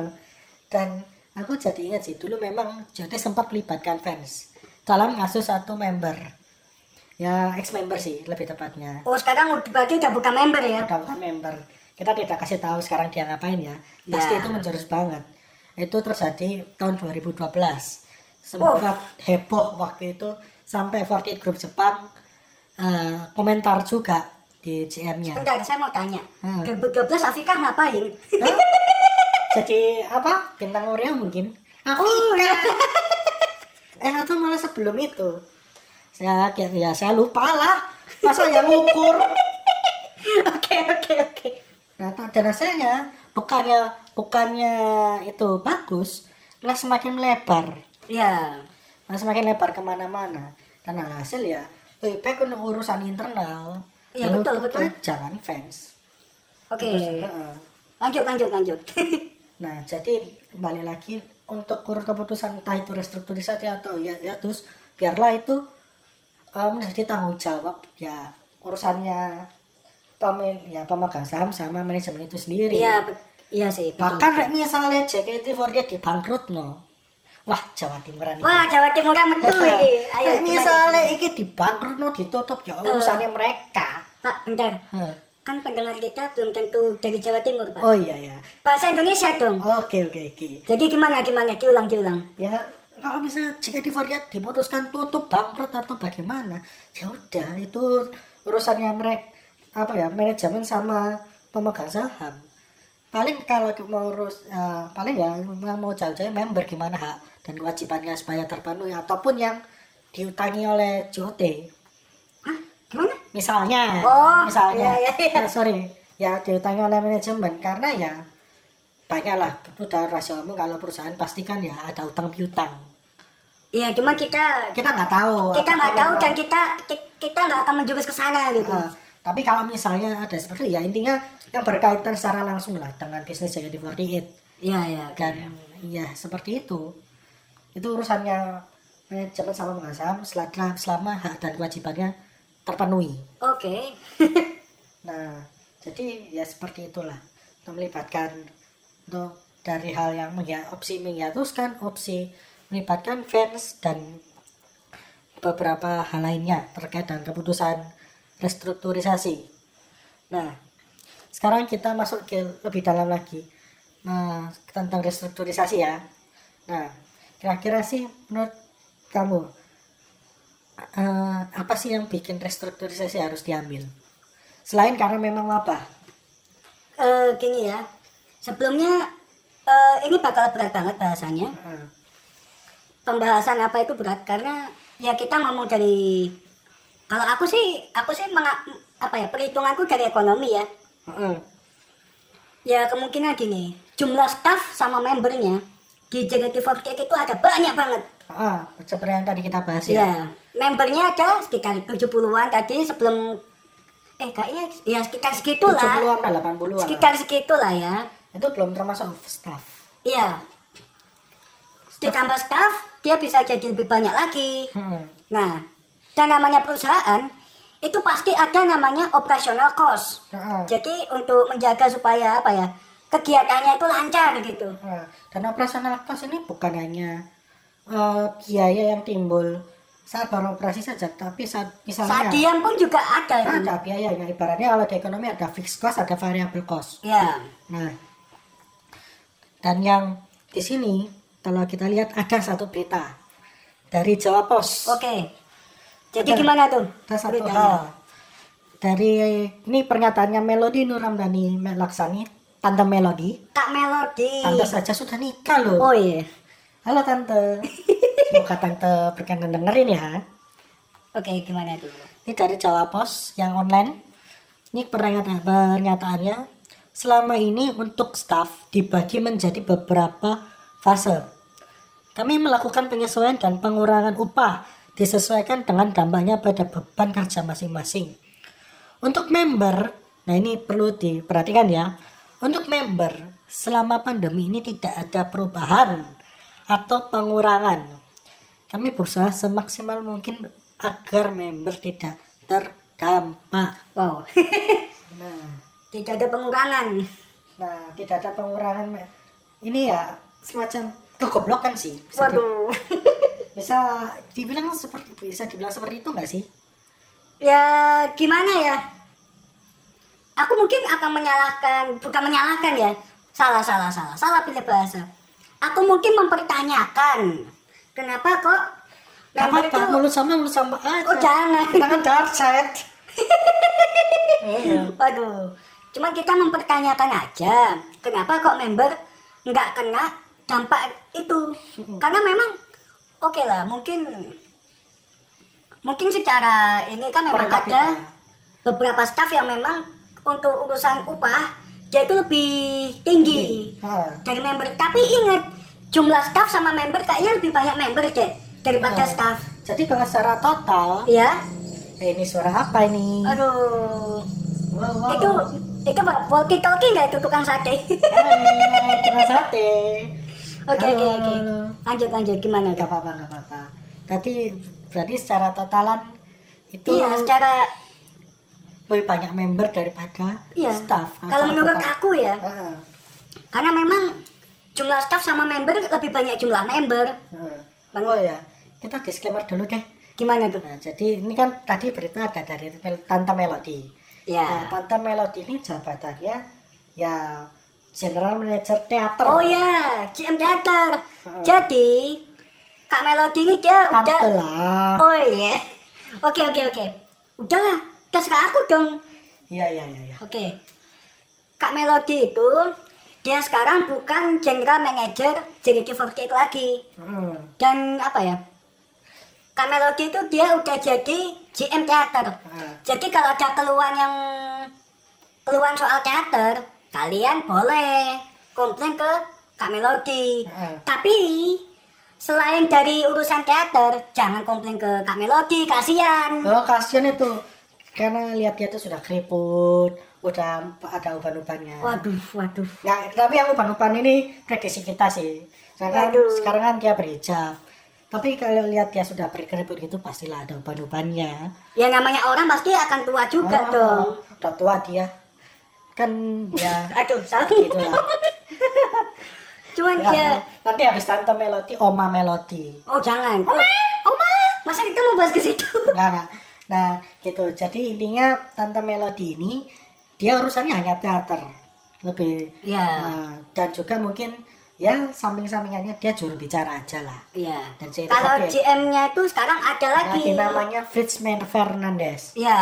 S2: dan aku jadi ingat sih dulu memang JOT sempat melibatkan fans dalam kasus satu member ya ex member sih lebih tepatnya
S1: Oh, sekarang udah berarti udah bukan member ya.
S2: ada orang member kita tidak kasih tahu sekarang dia ngapain ya pasti
S1: Ya.
S2: itu menjurus banget itu terjadi tahun 2012 sempat heboh waktu itu sampai 48 grup Jepang eh, komentar juga di GM-nya
S1: Bentar, saya mau tanya.
S2: Hmm.
S1: 2012 Afika ngapain?
S2: jadi apa bintang Korea mungkin
S1: Oh, ya.
S2: eh atau malah sebelum itu saya ya saya lupa lah masa yang ngukur
S1: Oke, oke, oke.
S2: Nah, tak ada rasanya bukannya bukannya itu bagus, malah semakin melebar,
S1: Ya.
S2: malah semakin lebar kemana-mana. Dan hasil ya lebih baik untuk urusan internal.
S1: Iya,
S2: Dan
S1: betul,
S2: untuk
S1: betul.
S2: Jangan fans.
S1: Oke.
S2: Heeh.
S1: Lanjut, lanjut, lanjut.
S2: Nah, jadi balik lagi untuk kurun keputusan entah itu restrukturisasi atau ya, ya terus biarlah itu eh, menjadi tanggung jawab ya urusannya pemilik ya pemegang saham sama manajemen itu sendiri.
S1: Iya, be- iya sih. betul.
S2: Bahkan rek misalnya JKT48 dibangkrut no. Wah, Jawa Timuran.
S1: Wah, Jawa Timur betul ini. Ayo,
S2: Ayo
S1: gimana?
S2: misalnya iki dibangkrut no ditutup ya urusannya mereka.
S1: Pak, bentar.
S2: Heh.
S1: kan pendengar kita belum tentu dari Jawa Timur pak
S2: Oh iya ya.
S1: bahasa Indonesia dong
S2: Oke oke oke.
S1: jadi gimana gimana diulang diulang
S2: Ya kalau misalnya jika Divoriat diputuskan tutup bangkrut atau bagaimana, ya udah itu urusannya mereka apa ya manajemen sama pemegang saham. Paling kalau mau urus eh, paling ya yang mau jauh-jauh member gimana hak dan kewajibannya supaya terpenuhi ataupun yang diutangi oleh JOT
S1: Hah? gimana
S2: misalnya
S1: Oh,
S2: misalnya
S1: iya, iya, iya.
S2: Ya, sorry ya diutangi oleh manajemen karena ya banyaklah udah rasio umum kalau perusahaan pastikan ya ada utang piutang
S1: iya cuma kita
S2: kita nggak tahu
S1: kita nggak
S2: Apakah
S1: tahu
S2: memang-
S1: dan kita ki- kita nggak akan menjurus ke sana gitu
S2: Nah, tapi kalau misalnya ada seperti itu, ya intinya yang berkaitan secara langsung lah dengan bisnis jadi 48
S1: iya iya
S2: dan ya seperti itu itu urusannya manajemen sama pemegang saham selama, selama hak dan kewajibannya terpenuhi
S1: oke
S2: Nah, jadi ya seperti itulah. Untuk melibatkan untuk dari hal yang menghi- opsi menghiatuskan, opsi melibatkan fans dan beberapa hal lainnya terkait dengan keputusan restrukturisasi. Nah, sekarang kita masuk ke lebih dalam lagi nah, tentang restrukturisasi ya. Nah, kira-kira sih menurut kamu eh, apa sih yang bikin restrukturisasi harus diambil? Selain karena memang wabah.
S1: Eh, gini ya sebelumnya eh, ini bakal berat banget bahasanya pembahasan apa itu berat karena ya kita ngomong dari kalau aku sih aku sih menga- apa ya perhitunganku dari ekonomi ya
S2: Heeh.
S1: ya kemungkinan gini jumlah staff sama membernya di JKT48 itu ada banyak banget
S2: Heeh, seperti yang tadi kita bahas ya.
S1: ya membernya ada sekitar 70-an tadi sebelum eh kayaknya ya sekitar
S2: 70-an
S1: segitulah
S2: atau 80-an.
S1: sekitar segitulah ya
S2: Itu belum termasuk staff.
S1: iya ditambah staff dia bisa jadi lebih banyak lagi
S2: Heeh.
S1: Nah, dan namanya perusahaan itu pasti ada namanya operational cost.
S2: Heeh.
S1: Jadi untuk menjaga supaya apa ya kegiatannya itu lancar gitu.
S2: Heeh. Dan operasional cost ini bukan hanya eh, biaya yang timbul saat beroperasi saja, tapi
S1: Saat
S2: saat misalnya
S1: diam pun juga ada itu.
S2: ada biayanya. Ibaratnya kalau di ekonomi ada fixed cost, ada variable cost.
S1: Ya,
S2: Nah, dan yang di sini kalau kita lihat ada satu berita dari Jawa Pos.
S1: oke. Jadi
S2: Ada-
S1: gimana tuh?
S2: ada satu
S1: beritanya?
S2: hal dari ini pernyataannya Melody Nuramdani Laksani Tante Melody
S1: Kak Melody.
S2: Tante saja sudah nikah
S1: Oh
S2: loh
S1: iya.
S2: Halo Tante Semoga Tante berkenan dengerin ya
S1: Oke, gimana tuh?
S2: Ini dari Jawa Pos yang online Ini pernyata- pernyataannya Selama ini untuk staff dibagi menjadi beberapa fase Kami melakukan penyesuaian dan pengurangan upah disesuaikan dengan dampaknya pada beban kerja masing-masing. Untuk member, nah ini perlu diperhatikan ya. Untuk member, selama pandemi ini tidak ada perubahan atau pengurangan. Kami berusaha semaksimal mungkin agar member tidak terdampak.
S1: Wow.
S2: Nah,
S1: Tidak ada pengurangan.
S2: nah tidak ada pengurangan. Mbak. Ini ya semacam kegoblokan sih. bisa di-
S1: Waduh.
S2: bisa dibilang seperti bisa dibilang seperti itu nggak sih
S1: ya gimana ya aku mungkin akan menyalahkan bukan menyalahkan ya salah salah salah salah pilih bahasa aku mungkin mempertanyakan kenapa kok
S2: Gak
S1: member
S2: apa-apa,
S1: Nah, itu-
S2: mulut sama mulut sama aja.
S1: oh jangan
S2: Kita kan dark side. Iya.
S1: Eh, waduh cuma kita mempertanyakan aja kenapa kok member nggak kena dampak itu karena memang oke lah mungkin mungkin secara ini kan memang
S2: Perangkat
S1: ada
S2: kita.
S1: beberapa staff yang memang untuk urusan upah dia itu lebih tinggi
S2: Ah.
S1: dari member tapi ingat jumlah staff sama member kayaknya lebih banyak member deh daripada
S2: Ah.
S1: staff
S2: Jadi kalau secara total,
S1: ya
S2: eh, ini suara apa ini?
S1: aduh
S2: Wow,
S1: Oh.
S2: wow.
S1: itu itu walkie talkie nggak itu tukang sate
S2: Hai, tukang sate.
S1: Oke oke
S2: Halo,
S1: oke.
S2: halo.
S1: Lanjut lanjut gimana
S2: Gak
S1: Kak?
S2: apa-apa, gak apa-apa. Berarti berarti secara totalan itu
S1: Iya secara
S2: lebih banyak member daripada
S1: iya.
S2: staff. ah,
S1: Kalau
S2: atau
S1: menurut
S2: apa.
S1: aku ya,
S2: Ah,
S1: karena memang jumlah staff sama member lebih banyak jumlah member.
S2: ah.
S1: Bang.
S2: Oh ya, kita disclaimer dulu deh.
S1: Gimana tuh?
S2: Nah, jadi ini kan tadi berita ada dari Mel- Tante Melody.
S1: Ya.
S2: Nah, Tante Melody ini jabatannya ya General Manager Teater.
S1: Oh ya, GM Teater. Jadi Kak Melody ini dia
S2: Ah. Tante
S1: udah
S2: lah.
S1: Oh iya. Oke oke oke. Udah, terserah aku dong.
S2: Iya iya iya. iya.
S1: Oke. Kak Melody itu dia sekarang bukan general manager JKT48 lagi.
S2: Hmm.
S1: Dan apa ya? Kak Melody itu dia udah jadi GM teater.
S2: Ah.
S1: Jadi kalau ada keluhan yang keluhan soal teater, kalian boleh komplain ke Kak Melody.
S2: Ah.
S1: Tapi selain dari urusan teater, jangan komplain ke Kak Melody, kasihan.
S2: Oh kasihan itu karena lihat dia tuh sudah keriput, udah ada uban-ubannya.
S1: Waduh, waduh.
S2: Nah, tapi yang uban-uban ini prediksi kita sih. Karena
S1: Waduh.
S2: sekarang kan dia berhijab. Tapi kalau lihat dia sudah berkeriput gitu pastilah ada uban-ubannya.
S1: Ya namanya orang pasti akan tua juga
S2: Oh,
S1: dong.
S2: Udah tua dia. Kan ya
S1: Aduh, salah
S2: gitu lah.
S1: Cuman
S2: Ya,
S1: ya,
S2: Nanti habis tante Melody, oma Melody.
S1: oh jangan. Oh, Oma, masa kita mau bahas ke situ?
S2: Nah, nah, nah, gitu. Jadi intinya tante Melody ini dia urusannya hanya teater. Lebih
S1: Ya,
S2: Nah, dan juga mungkin ya samping-sampingannya dia juru bicara aja lah.
S1: iya.
S2: Dan cerita
S1: Kalau
S2: dia-
S1: GM-nya itu sekarang ada lagi. ya.
S2: Lagi namanya Fitzman Fernandez.
S1: Iya,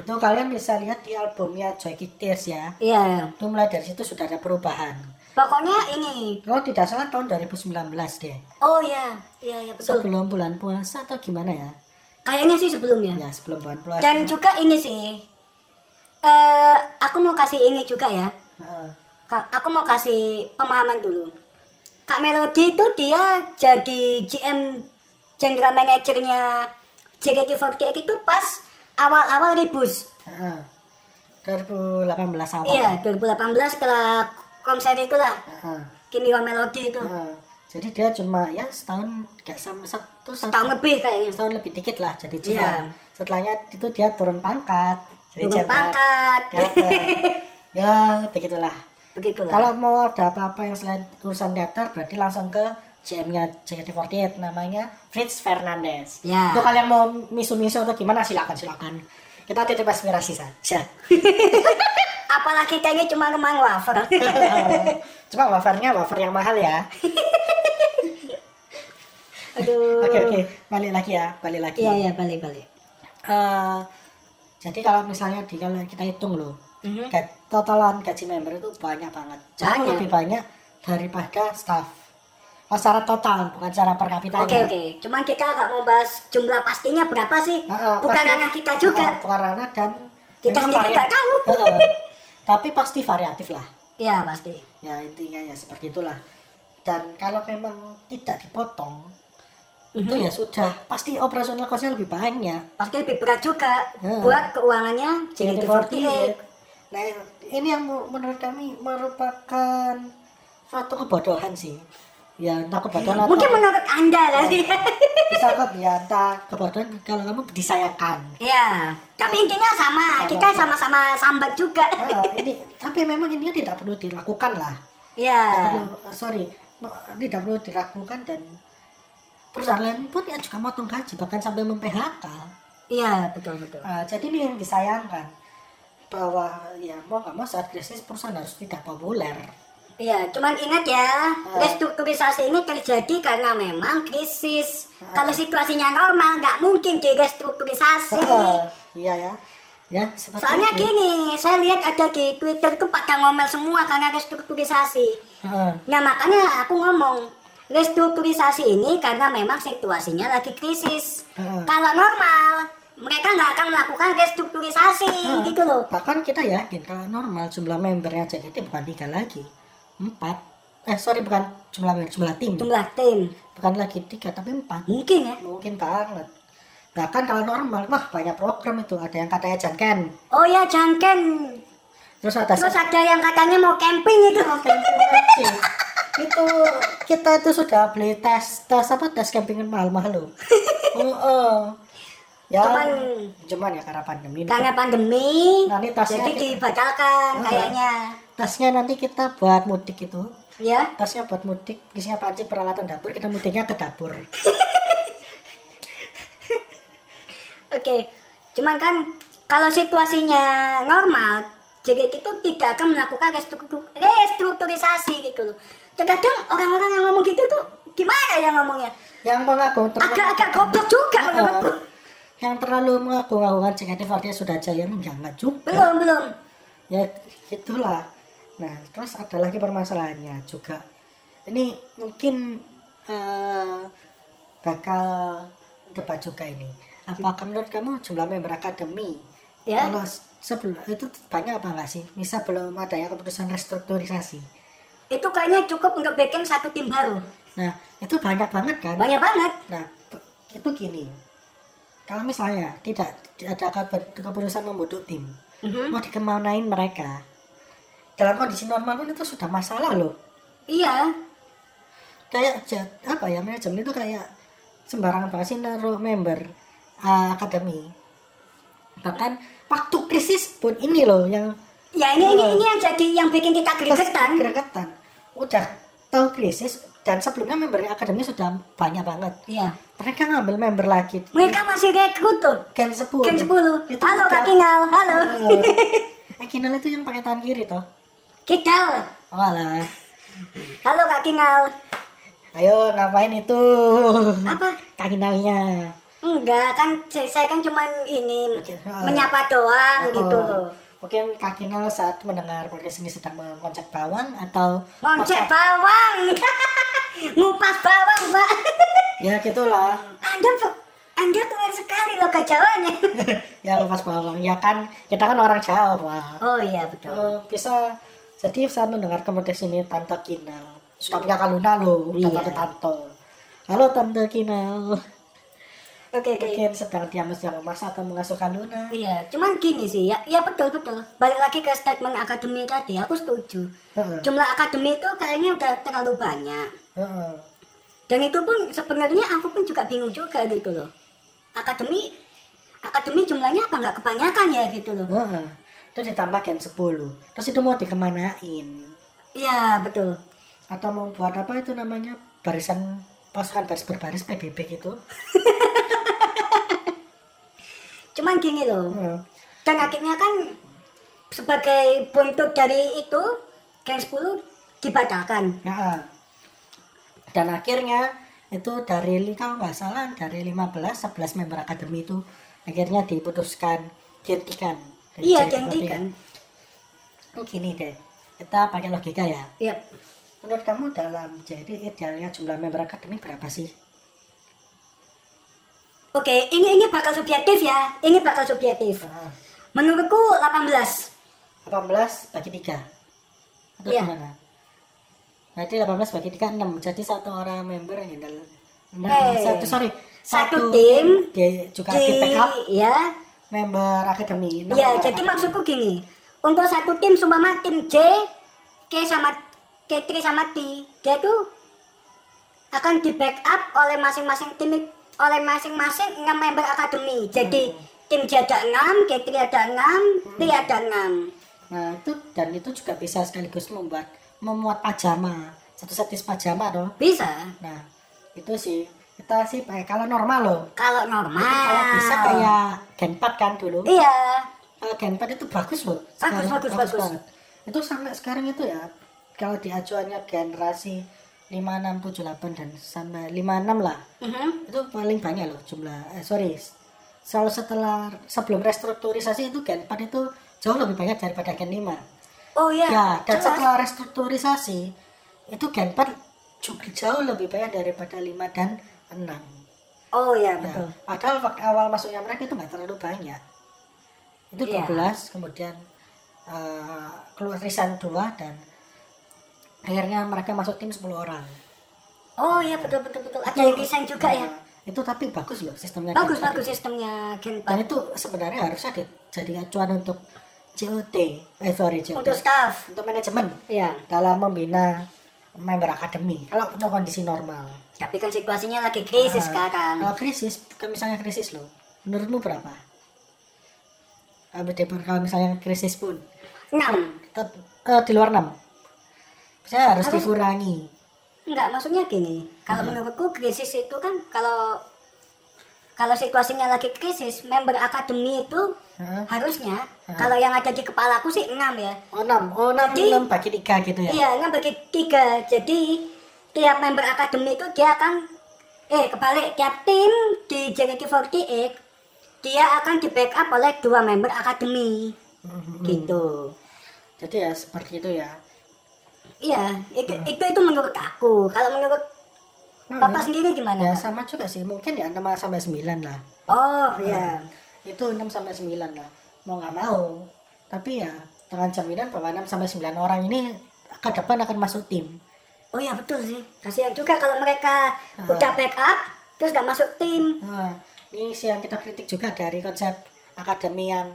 S2: Itu kalian bisa lihat di albumnya Joy Tears ya.
S1: iya.
S2: Itu mulai dari situ sudah ada perubahan.
S1: Pokoknya ini.
S2: Kalau tidak salah tahun 2019 deh.
S1: Oh iya, iya, iya betul.
S2: Sebelum bulan puasa atau gimana ya?
S1: Kayaknya sih sebelumnya.
S2: Ya sebelum bulan puasa.
S1: Dan juga ini sih. Eh, aku mau kasih ini juga ya.
S2: Heeh.
S1: Kak, aku mau kasih pemahaman dulu. Kak Melody itu dia jadi GM General Managernya JKT48 itu pas awal-awal ribus.
S2: Heeh. 2018 awal.
S1: Iya, 2018 setelah konser itu lah.
S2: Heeh.
S1: Kimi Wa Melody itu.
S2: Heeh. Jadi dia cuma ya setahun gak sama satu
S1: Setahun lebih kayaknya.
S2: setahun lebih dikit lah jadi
S1: Iya.
S2: GM. Setelahnya itu dia turun pangkat. Jadi
S1: Turun
S2: general.
S1: pangkat.
S2: Teater. ya begitulah.
S1: Begitulah.
S2: Kalau mau ada apa-apa yang selain urusan teater berarti langsung ke GM-nya JKT48 namanya Fritz Fernandez.
S1: Ya.
S2: Itu kalian mau misu-misu atau gimana silakan silakan. Kita titip aspirasi saja.
S1: Apalagi kayaknya cuma rumah wafer.
S2: Cuma wafernya wafer yang mahal ya.
S1: Aduh.
S2: Oke oke, balik lagi ya, balik lagi.
S1: Iya, iya, balik-balik.
S2: Eh, jadi kalau misalnya di kalau kita hitung loh,
S1: Mhm.
S2: ga- totalan gaji member itu banyak banget. Jauh
S1: Banyak.
S2: lebih banyak daripada staff. Oh, secara total bukan secara per kapita.
S1: Oke, oke. Cuman kita nggak mau bahas jumlah pastinya berapa sih.
S2: Heeh,
S1: Bukan
S2: pasti-
S1: ranah kita juga.
S2: Heeh, bukan ranah dan
S1: Kita
S2: memang
S1: sendiri nggak
S2: variatif.
S1: tahu.
S2: Heeh. tapi pasti variatif lah.
S1: Iya, pasti.
S2: Ya intinya ya seperti itulah. Dan kalau memang tidak dipotong, itu
S1: Mhm.
S2: ya sudah pasti operasional cost-nya lebih banyak. ya.
S1: Pasti lebih berat juga
S2: Hmm.
S1: buat keuangannya JKT48.
S2: Nah, ini yang mu- menurut kami merupakan suatu kebodohan sih. Ya, entah kebodohan atau
S1: Mungkin menurut Anda lah sih.
S2: bisa kok ya, entah kebodohan kalau kamu disayangkan.
S1: Iya, tapi intinya sama.
S2: Sama.
S1: Kita sama-sama sambat juga.
S2: Ah, ini tapi memang ini tidak perlu dilakukan lah. Tidak
S1: Iya.
S2: perlu- eh, sorry, me- tidak perlu dilakukan dan perusahaan lain pun ya juga motong gaji bahkan sampai memphk.
S1: Iya, betul betul.
S2: Ah, jadi ini yang disayangkan bahwa ya mau nggak mau saat krisis perusahaan harus tidak populer.
S1: Iya, cuman ingat ya, restrukturisasi ini terjadi karena memang krisis. Kalau situasinya normal, nggak mungkin direstrukturisasi.
S2: Iya ya. Ya, seperti
S1: Soalnya
S2: itu.
S1: gini, saya lihat ada di Twitter tuh pada ngomel semua karena restrukturisasi.
S2: Heeh.
S1: Nah makanya aku ngomong restrukturisasi ini karena memang situasinya lagi krisis.
S2: Heeh.
S1: Kalau normal mereka nggak akan melakukan restrukturisasi
S2: Heeh.
S1: gitu loh.
S2: Bahkan kita yakin kalau normal jumlah membernya JKT bukan tiga lagi, empat. Eh sorry bukan jumlah member, jumlah tim.
S1: Jumlah tim
S2: Bukan lagi tiga tapi empat.
S1: mungkin ya.
S2: Mungkin banget. Bahkan kalau normal, wah banyak program itu. Ada yang katanya jangan.
S1: Oh ya jangken.
S2: Terus ada
S1: Terus ada yang katanya mau camping itu.
S2: Ya. camping itu kita itu sudah beli tes tes apa tes camping mahal-mahal loh. Heeh. ya,
S1: Cuman-
S2: cuman ya karena pandemi.
S1: Karena pandemi,
S2: Nah, ini tasnya Hmm.
S1: jadi
S2: kita-
S1: dibatalkan
S2: Heeh.
S1: kayaknya.
S2: Tasnya nanti kita buat mudik itu.
S1: Ya,
S2: Tasnya buat mudik, isinya panci peralatan dapur, kita mudiknya ke dapur.
S1: oke. Cuman kan kalau situasinya normal jadi itu tidak akan melakukan restruktu- restrukturisasi gitu loh terkadang orang-orang yang ngomong gitu tuh gimana ya ngomongnya
S2: yang mengagung
S1: agak-agak goblok juga menurutku
S2: eh, yang terlalu mengagung-agungkan negatif artinya sudah jaya enggak enggak juga
S1: belum belum
S2: ya itulah nah terus ada lagi permasalahannya juga ini mungkin eh, bakal debat juga ini apakah menurut kamu jumlah member akademi
S1: Ya.
S2: kalau se- sebelum itu banyak apa nggak sih misal belum adanya keputusan restrukturisasi
S1: itu kayaknya cukup untuk bikin satu tim baru
S2: nah itu banyak banget kan
S1: banyak banget
S2: nah pe- itu gini kalau misalnya tidak ada kabar- keputusan membentuk tim
S1: Mhm.
S2: mau dikemanain mereka dalam kondisi normal pun itu sudah masalah loh
S1: iya
S2: kayak ja- apa ya manajemen itu kayak sembarangan banget sih naruh member uh, akademi bahkan waktu krisis pun ini loh yang
S1: ya ini ini ini yang jadi yang bikin kita gregetan
S2: gregetan udah tahu krisis dan sebelumnya member akademi sudah banyak banget
S1: iya
S2: mereka ngambil member lagi
S1: mereka masih rekrut tuh
S2: gen 10
S1: Gen 10
S2: Itu
S1: halo
S2: udah-
S1: kak Kingal halo
S2: Eh, Kinal itu yang pakai tangan kiri toh Oh,
S1: Kingal
S2: walah
S1: halo kak Kingal
S2: ayo ngapain itu
S1: apa
S2: kakinalnya
S1: Enggak, kan saya saya kan cuman ini
S2: Oke.
S1: menyapa doang
S2: Ah.
S1: gitu loh.
S2: Mungkin Kak Kinal saat mendengar podcast ini sedang mengoncek bawang atau
S1: Lonceng bawang. Ngupas bawang, Pak.
S2: ya gitulah.
S1: Anda tuh- Anda keren sekali loh kejawanya.
S2: ya lepas bawang ya kan kita kan orang Jawa.
S1: Oh iya betul.
S2: Eh, bisa jadi saat mendengar podcast ini Tante Kinal suka punya kaluna loh,
S1: Iya.
S2: Tante Tanto. Halo Tante Kinal.
S1: Oke, oke.
S2: Mungkin sedang dia sedang memasak atau mengasuh kaluna.
S1: Iya, cuman gini sih ya, ya betul betul. Balik lagi ke statement akademi tadi, aku setuju.
S2: Heeh.
S1: Jumlah akademi itu kayaknya udah terlalu banyak.
S2: Heeh.
S1: Dan itu pun sebenarnya aku pun juga bingung juga gitu loh. Akademi akademi jumlahnya apa nggak kebanyakan ya gitu loh.
S2: Heeh. Terus ditambah gen 10. Terus itu mau dikemanain?
S1: Iya betul.
S2: atau mau buat apa itu namanya barisan pasukan baris berbaris PBB gitu
S1: Cuman gini loh.
S2: Heeh.
S1: Dan akhirnya kan sebagai bentuk dari itu Gen 10 dibatalkan.
S2: Ya. dan akhirnya itu dari li- kalau nggak salah dari 15 11 member akademi itu akhirnya diputuskan dihentikan Dan
S1: Iya,
S2: jadi
S1: dihentikan.
S2: seperti- gini deh kita pakai logika ya
S1: Ya,
S2: menurut kamu dalam jadi idealnya jumlah member akademi berapa sih
S1: oke, ini ini bakal subjektif ya. Ini bakal subjektif.
S2: Heeh.
S1: Menurutku 18.
S2: 18 bagi 3 atau
S1: Iya.
S2: gimana? Nah, Berarti 18 bagi 3 6. Jadi satu orang member yang handle enam,
S1: Eh.
S2: satu sorry,
S1: Satu tim
S2: dia juga di
S1: Di-
S2: backup
S1: ya.
S2: member akademi. enam
S1: Ya,
S2: member
S1: jadi
S2: akademi.
S1: maksudku gini. Untuk satu tim sumama tim J, K sama K3 sama T, dia tuh akan di backup oleh masing-masing tim oleh masing-masing 6 member akademi.
S2: Hmm.
S1: Jadi tim J ada 6, K3 ada 6, T ada 6.
S2: Nah, itu dan itu juga bisa sekaligus membuat memuat pajama, satu setis pajama dong.
S1: Bisa.
S2: Nah, itu sih kita sih pakai kalau normal loh.
S1: Kalau normal.
S2: Kalau bisa
S1: Ah.
S2: kayak Genpad kan dulu.
S1: Iya.
S2: Eh, Genpad itu bagus loh.
S1: Bagus,
S2: Sekarang
S1: bagus, bagus.
S2: banget. Itu sampai sekarang itu ya, kalau di acuannya generasi 5678 dan sampai 56 lah.
S1: Mhm.
S2: Itu paling banyak loh jumlah, eh, sorry. Selalu setelah, sebelum restrukturisasi itu gen 4 itu jauh lebih banyak daripada gen 5.
S1: Oh iya.
S2: Ya, dan
S1: jelas.
S2: setelah restrukturisasi itu gen 4 juga jauh lebih banyak daripada 5 dan 6.
S1: Oh iya,
S2: Nah,
S1: betul.
S2: Padahal waktu awal masuknya mereka itu nggak terlalu banyak. Itu
S1: Iya.
S2: 12, kemudian eh, keluar risan 2 dan akhirnya mereka masuk tim 10 orang.
S1: Oh iya, betul betul betul. Ada yang desain juga ya.
S2: Nah, itu tapi bagus loh sistemnya.
S1: Bagus
S2: Genpad
S1: bagus
S2: itu.
S1: sistemnya Genpad.
S2: Ya. Dan itu sebenarnya harusnya di- jadi acuan untuk COT, eh sorry COT,
S1: Untuk staff.
S2: untuk manajemen
S1: Iya.
S2: dalam membina member akademi kalau untuk kondisi normal.
S1: Tapi kan situasinya lagi
S2: Ah.
S1: krisis sekarang.
S2: Eh, Kalau krisis, kalau misalnya krisis loh, menurutmu berapa? ABD per kalau misalnya krisis pun
S1: Enam.
S2: tet- eh, di luar 6 saya harus
S1: Harus-
S2: dikurangi
S1: Enggak, maksudnya gini. Kalau menurutku krisis itu kan kalau kalau situasinya lagi krisis, member akademi itu
S2: Heeh.
S1: harusnya kalau yang ada di kepalaku sih 6 ya.
S2: Oh enam, oh enam,
S1: Jadi-
S2: enam bagi tiga gitu ya.
S1: Iya, enam bagi tiga. Jadi tiap member akademi itu dia akan eh kebalik tiap tim di JKT48 dia akan di backup oleh dua member akademi
S2: Hmm.
S1: gitu.
S2: Mhm. Jadi ya seperti itu ya.
S1: Iya, itu, itu itu menurut aku. Kalau menurut
S2: Hmm.
S1: Papa Nah, sendiri
S2: Ya
S1: gimana?
S2: sama juga sih, mungkin ya 6 sampai 9 lah.
S1: Oh iya,
S2: Itu 6 sampai 9 lah. Mau nggak mau. Tapi ya dengan jaminan bahwa 6 sampai 9 orang ini ke depan akan masuk tim.
S1: oh iya betul sih. Kasihan juga kalau mereka
S2: Ah.
S1: udah backup terus gak masuk tim
S2: Nah, ini sih yang kita kritik juga dari konsep akademi yang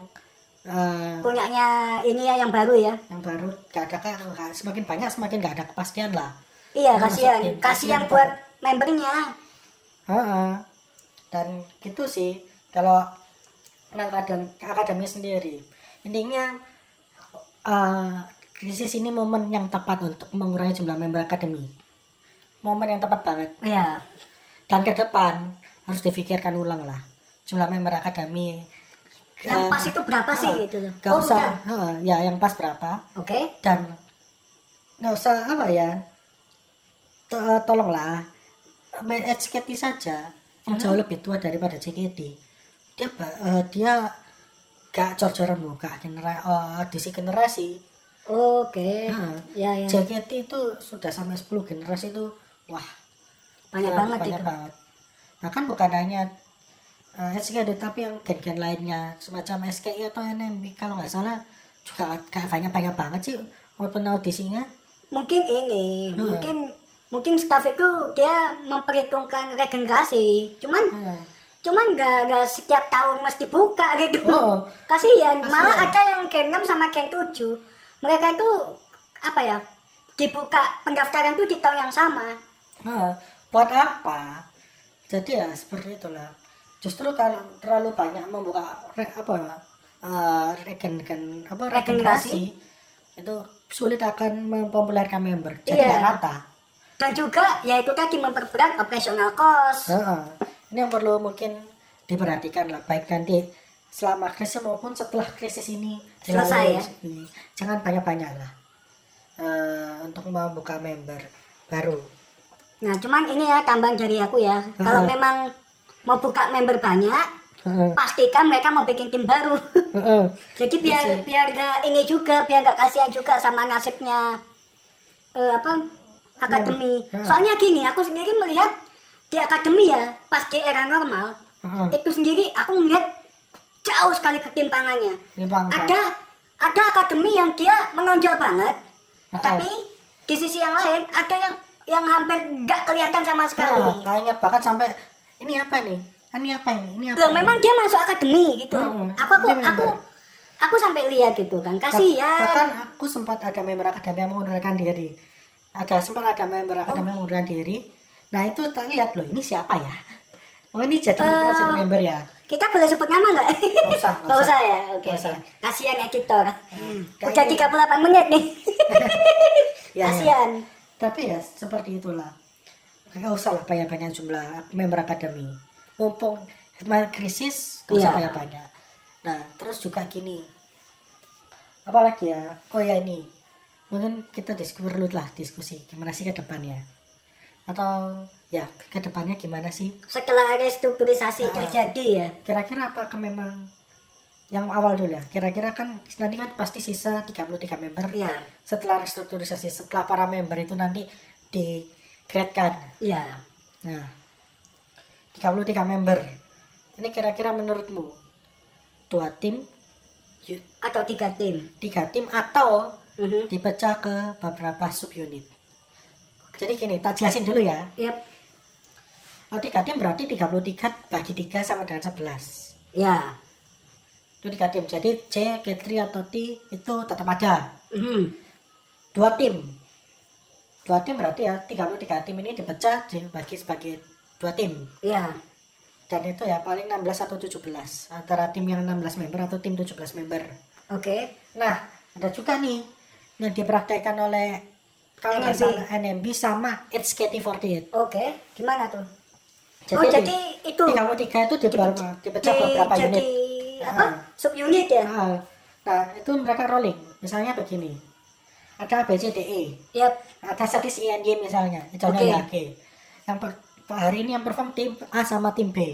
S2: eh,
S1: punyanya ini ya yang baru ya.
S2: yang baru gak ada gak- semakin banyak semakin gak ada kepastian lah.
S1: Iya
S2: Nggak masuk
S1: kasihan,
S2: tim. Iya. Kasihan
S1: kasihan buat membernya.
S2: Heeh. Dan gitu sih kalau tentang akadem- akademi sendiri. Intinya eh, krisis ini momen yang tepat untuk mengurangi jumlah member akademi. Momen yang tepat banget.
S1: Iya,
S2: Dan ke depan harus difikirkan ulang lah jumlah member akademi.
S1: yang
S2: Eh,
S1: pas itu berapa sih gitu loh
S2: Gak
S1: Oh, udah.
S2: usah, heeh, ya yang pas berapa?
S1: oke
S2: dan nggak usah apa ya to- tolonglah main HKT saja yang
S1: Mm-hmm.
S2: jauh lebih tua daripada JKT dia ba- eh, dia gak cor-coran muka genera eh, di si generasi
S1: oke
S2: Nah,
S1: ya ya
S2: JKT itu sudah sampai 10 generasi itu wah
S1: banyak
S2: gila,
S1: banget
S2: ah, Iya, banyak
S1: itu
S2: banget bahkan bukan hanya eh, HKT tapi yang gen-gen lainnya semacam SKI atau NMB kalau nggak salah juga kayak banyak banyak banget sih walaupun audisinya
S1: mungkin ini
S2: Hmm.
S1: mungkin mungkin staff itu dia memperhitungkan regenerasi cuman
S2: eh,
S1: cuman gak, gak setiap tahun mesti buka gitu
S2: Oh.
S1: kasihan malah
S2: Kasihan.
S1: ada yang gen 6 sama gen 7 mereka itu apa ya dibuka pendaftaran tuh di tahun yang sama
S2: Nah, buat apa? Jadi ya seperti itulah. Justru kalau terlalu banyak membuka re, apa eh, regen gen apa
S1: Regenerasi.
S2: regenerasi itu sulit akan mempopulerkan member. Jadi
S1: Iya.
S2: nggak rata.
S1: dan juga yaitu tadi memperberat operasional cost
S2: Heeh. Ini yang perlu mungkin diperhatikan lah baik nanti selama krisis maupun setelah krisis ini dilalui.
S1: Selesai ya?
S2: Iya. Jangan banyak-banyak lah eh, untuk membuka member baru.
S1: Nah, cuman ini ya tambang dari aku ya. Kalau memang mau buka member banyak,
S2: Heeh.
S1: pastikan mereka mau bikin tim baru.
S2: Heeh.
S1: Jadi biar biar gak ini juga, biar gak kasihan juga sama nasibnya eh, apa akademi.
S2: Iya.
S1: Soalnya gini, aku sendiri melihat di akademi ya, pas di era normal,
S2: Heeh.
S1: itu sendiri aku melihat jauh sekali ketimpangannya.
S2: Ini Bang, Bang.
S1: Ada ada akademi yang dia menonjol banget,
S2: Heeh.
S1: tapi di sisi yang lain ada yang yang hampir nggak kelihatan sama sekali.
S2: Nah, kayaknya bahkan sampai ini apa nih? Ini apa ini? Ini apa?
S1: Loh, memang dia masuk akademi gitu.
S2: Hmm,
S1: Aku aku
S2: dia memang.
S1: aku aku sampai lihat gitu kan.
S2: Bah-
S1: Kasihan.
S2: Bahkan aku sempat ada member akademi yang mengundurkan diri. Ada sempat ada member
S1: Oh.
S2: akademi yang mengundurkan diri. Nah itu tak lihat loh ini siapa ya? Oh ini
S1: Eh.
S2: jadi generasi member ya?
S1: Kita boleh sebut nama nggak?
S2: Nggak usah, nggak
S1: Nggak
S2: usah.
S1: usah ya. Oke.
S2: Nggak usah. Hmm,
S1: oke. Kasihan editor. Udah
S2: Kayaknya-
S1: 38 menit nih.
S2: Ya, ya.
S1: Kasihan.
S2: Tapi ya seperti itulah. Gak usah lah banyak-banyak jumlah member akademi. Mumpung kemarin krisis, gak usah
S1: Iya.
S2: banyak-banyak. Nah, terus juga gini. Apalagi ya, oh ya ini. Mungkin kita diskusi perlu lah diskusi gimana sih ke depannya. Atau ya ke depannya gimana sih?
S1: Setelah restrukturisasi
S2: Ah.
S1: terjadi ya.
S2: Kira-kira apakah memang yang awal dulu ya. Kira-kira kan nanti kan pasti sisa 33 member.
S1: Iya.
S2: Setelah restrukturisasi, setelah para member itu nanti di kan
S1: Iya.
S2: Nah, 33 member. Ini kira-kira menurutmu dua tim, y-
S1: Atau tiga tim.
S2: tiga tim atau
S1: Mhm.
S2: dipecah ke beberapa subunit. Jadi gini, tak jelasin dulu ya.
S1: Yep.
S2: Kalau tiga tim berarti 33 bagi 3 sama dengan 11.
S1: Ya.
S2: Itu tiga tim. Jadi C, K3 atau T itu tetap ada.
S1: Mhm.
S2: Dua tim. Dua tim berarti ya 33 tim ini dipecah dibagi sebagai dua tim.
S1: Ya.
S2: dan itu ya paling 16 atau 17 antara tim yang 16 member atau tim 17 member
S1: Oke.
S2: nah ada juga nih yang dipraktekkan oleh kalau nggak
S1: NMB.
S2: salah NMB sama HKT48
S1: Oke. Gimana tuh?
S2: Jadi
S1: oh,
S2: di-
S1: jadi itu
S2: di kamu tiga itu di, dipecah beberapa
S1: jadi
S2: unit
S1: apa subunit ya
S2: Ah, nah itu mereka rolling misalnya begini ada ABCDE
S1: ya
S2: ada statis E and Y misalnya contohnya
S1: Oke.
S2: Oke. yang per- hari ini yang perform tim A sama tim B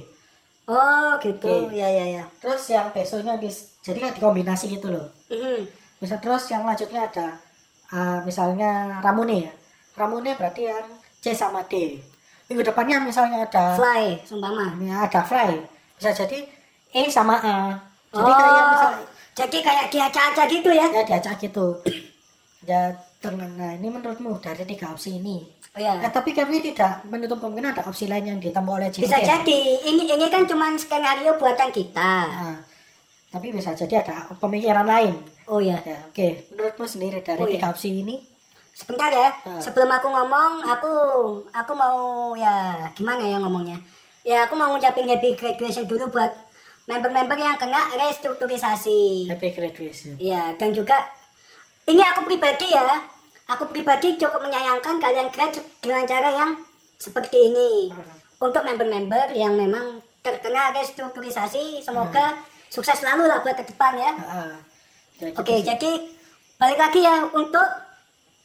S1: oh gitu
S2: Oke.
S1: ya ya ya
S2: terus yang besoknya dis- jadi kan dikombinasi gitu loh
S1: Mhm.
S2: bisa terus yang lanjutnya ada ah, misalnya Ramune ya Ramune berarti yang C sama D minggu depannya misalnya ada
S1: fly sumpama
S2: Ya, ada fly. Bisa jadi E sama A. Jadi
S1: oh
S2: kayak misalnya
S1: jadi kayak dia caca gitu ya
S2: ya diacak gitu. Ya tengah ini menurutmu dari tiga opsi ini.
S1: oh, ya.
S2: Eh, tapi kami tidak menutup kemungkinan ada opsi lain yang ditempuh oleh JNT.
S1: bisa jadi ini ini kan cuman skenario buatan kita
S2: Nah, tapi bisa jadi ada pemikiran lain.
S1: oh ya
S2: Ya, oke. Menurutmu sendiri dari
S1: Oh, iya.
S2: tiga opsi ini?
S1: sebentar ya
S2: Hmm.
S1: sebelum aku ngomong aku aku mau ya gimana ya ngomongnya ya aku mau ngucapin happy graduation dulu buat member-member yang kena restrukturisasi
S2: Happy graduation.
S1: ya dan juga ini aku pribadi ya aku pribadi cukup menyayangkan kalian grad dengan cara yang seperti ini untuk member-member yang memang terkena restrukturisasi semoga sukses selalu lah buat ke depan ya
S2: Ah, ah. Ya, gitu
S1: oke
S2: sih.
S1: jadi balik lagi ya untuk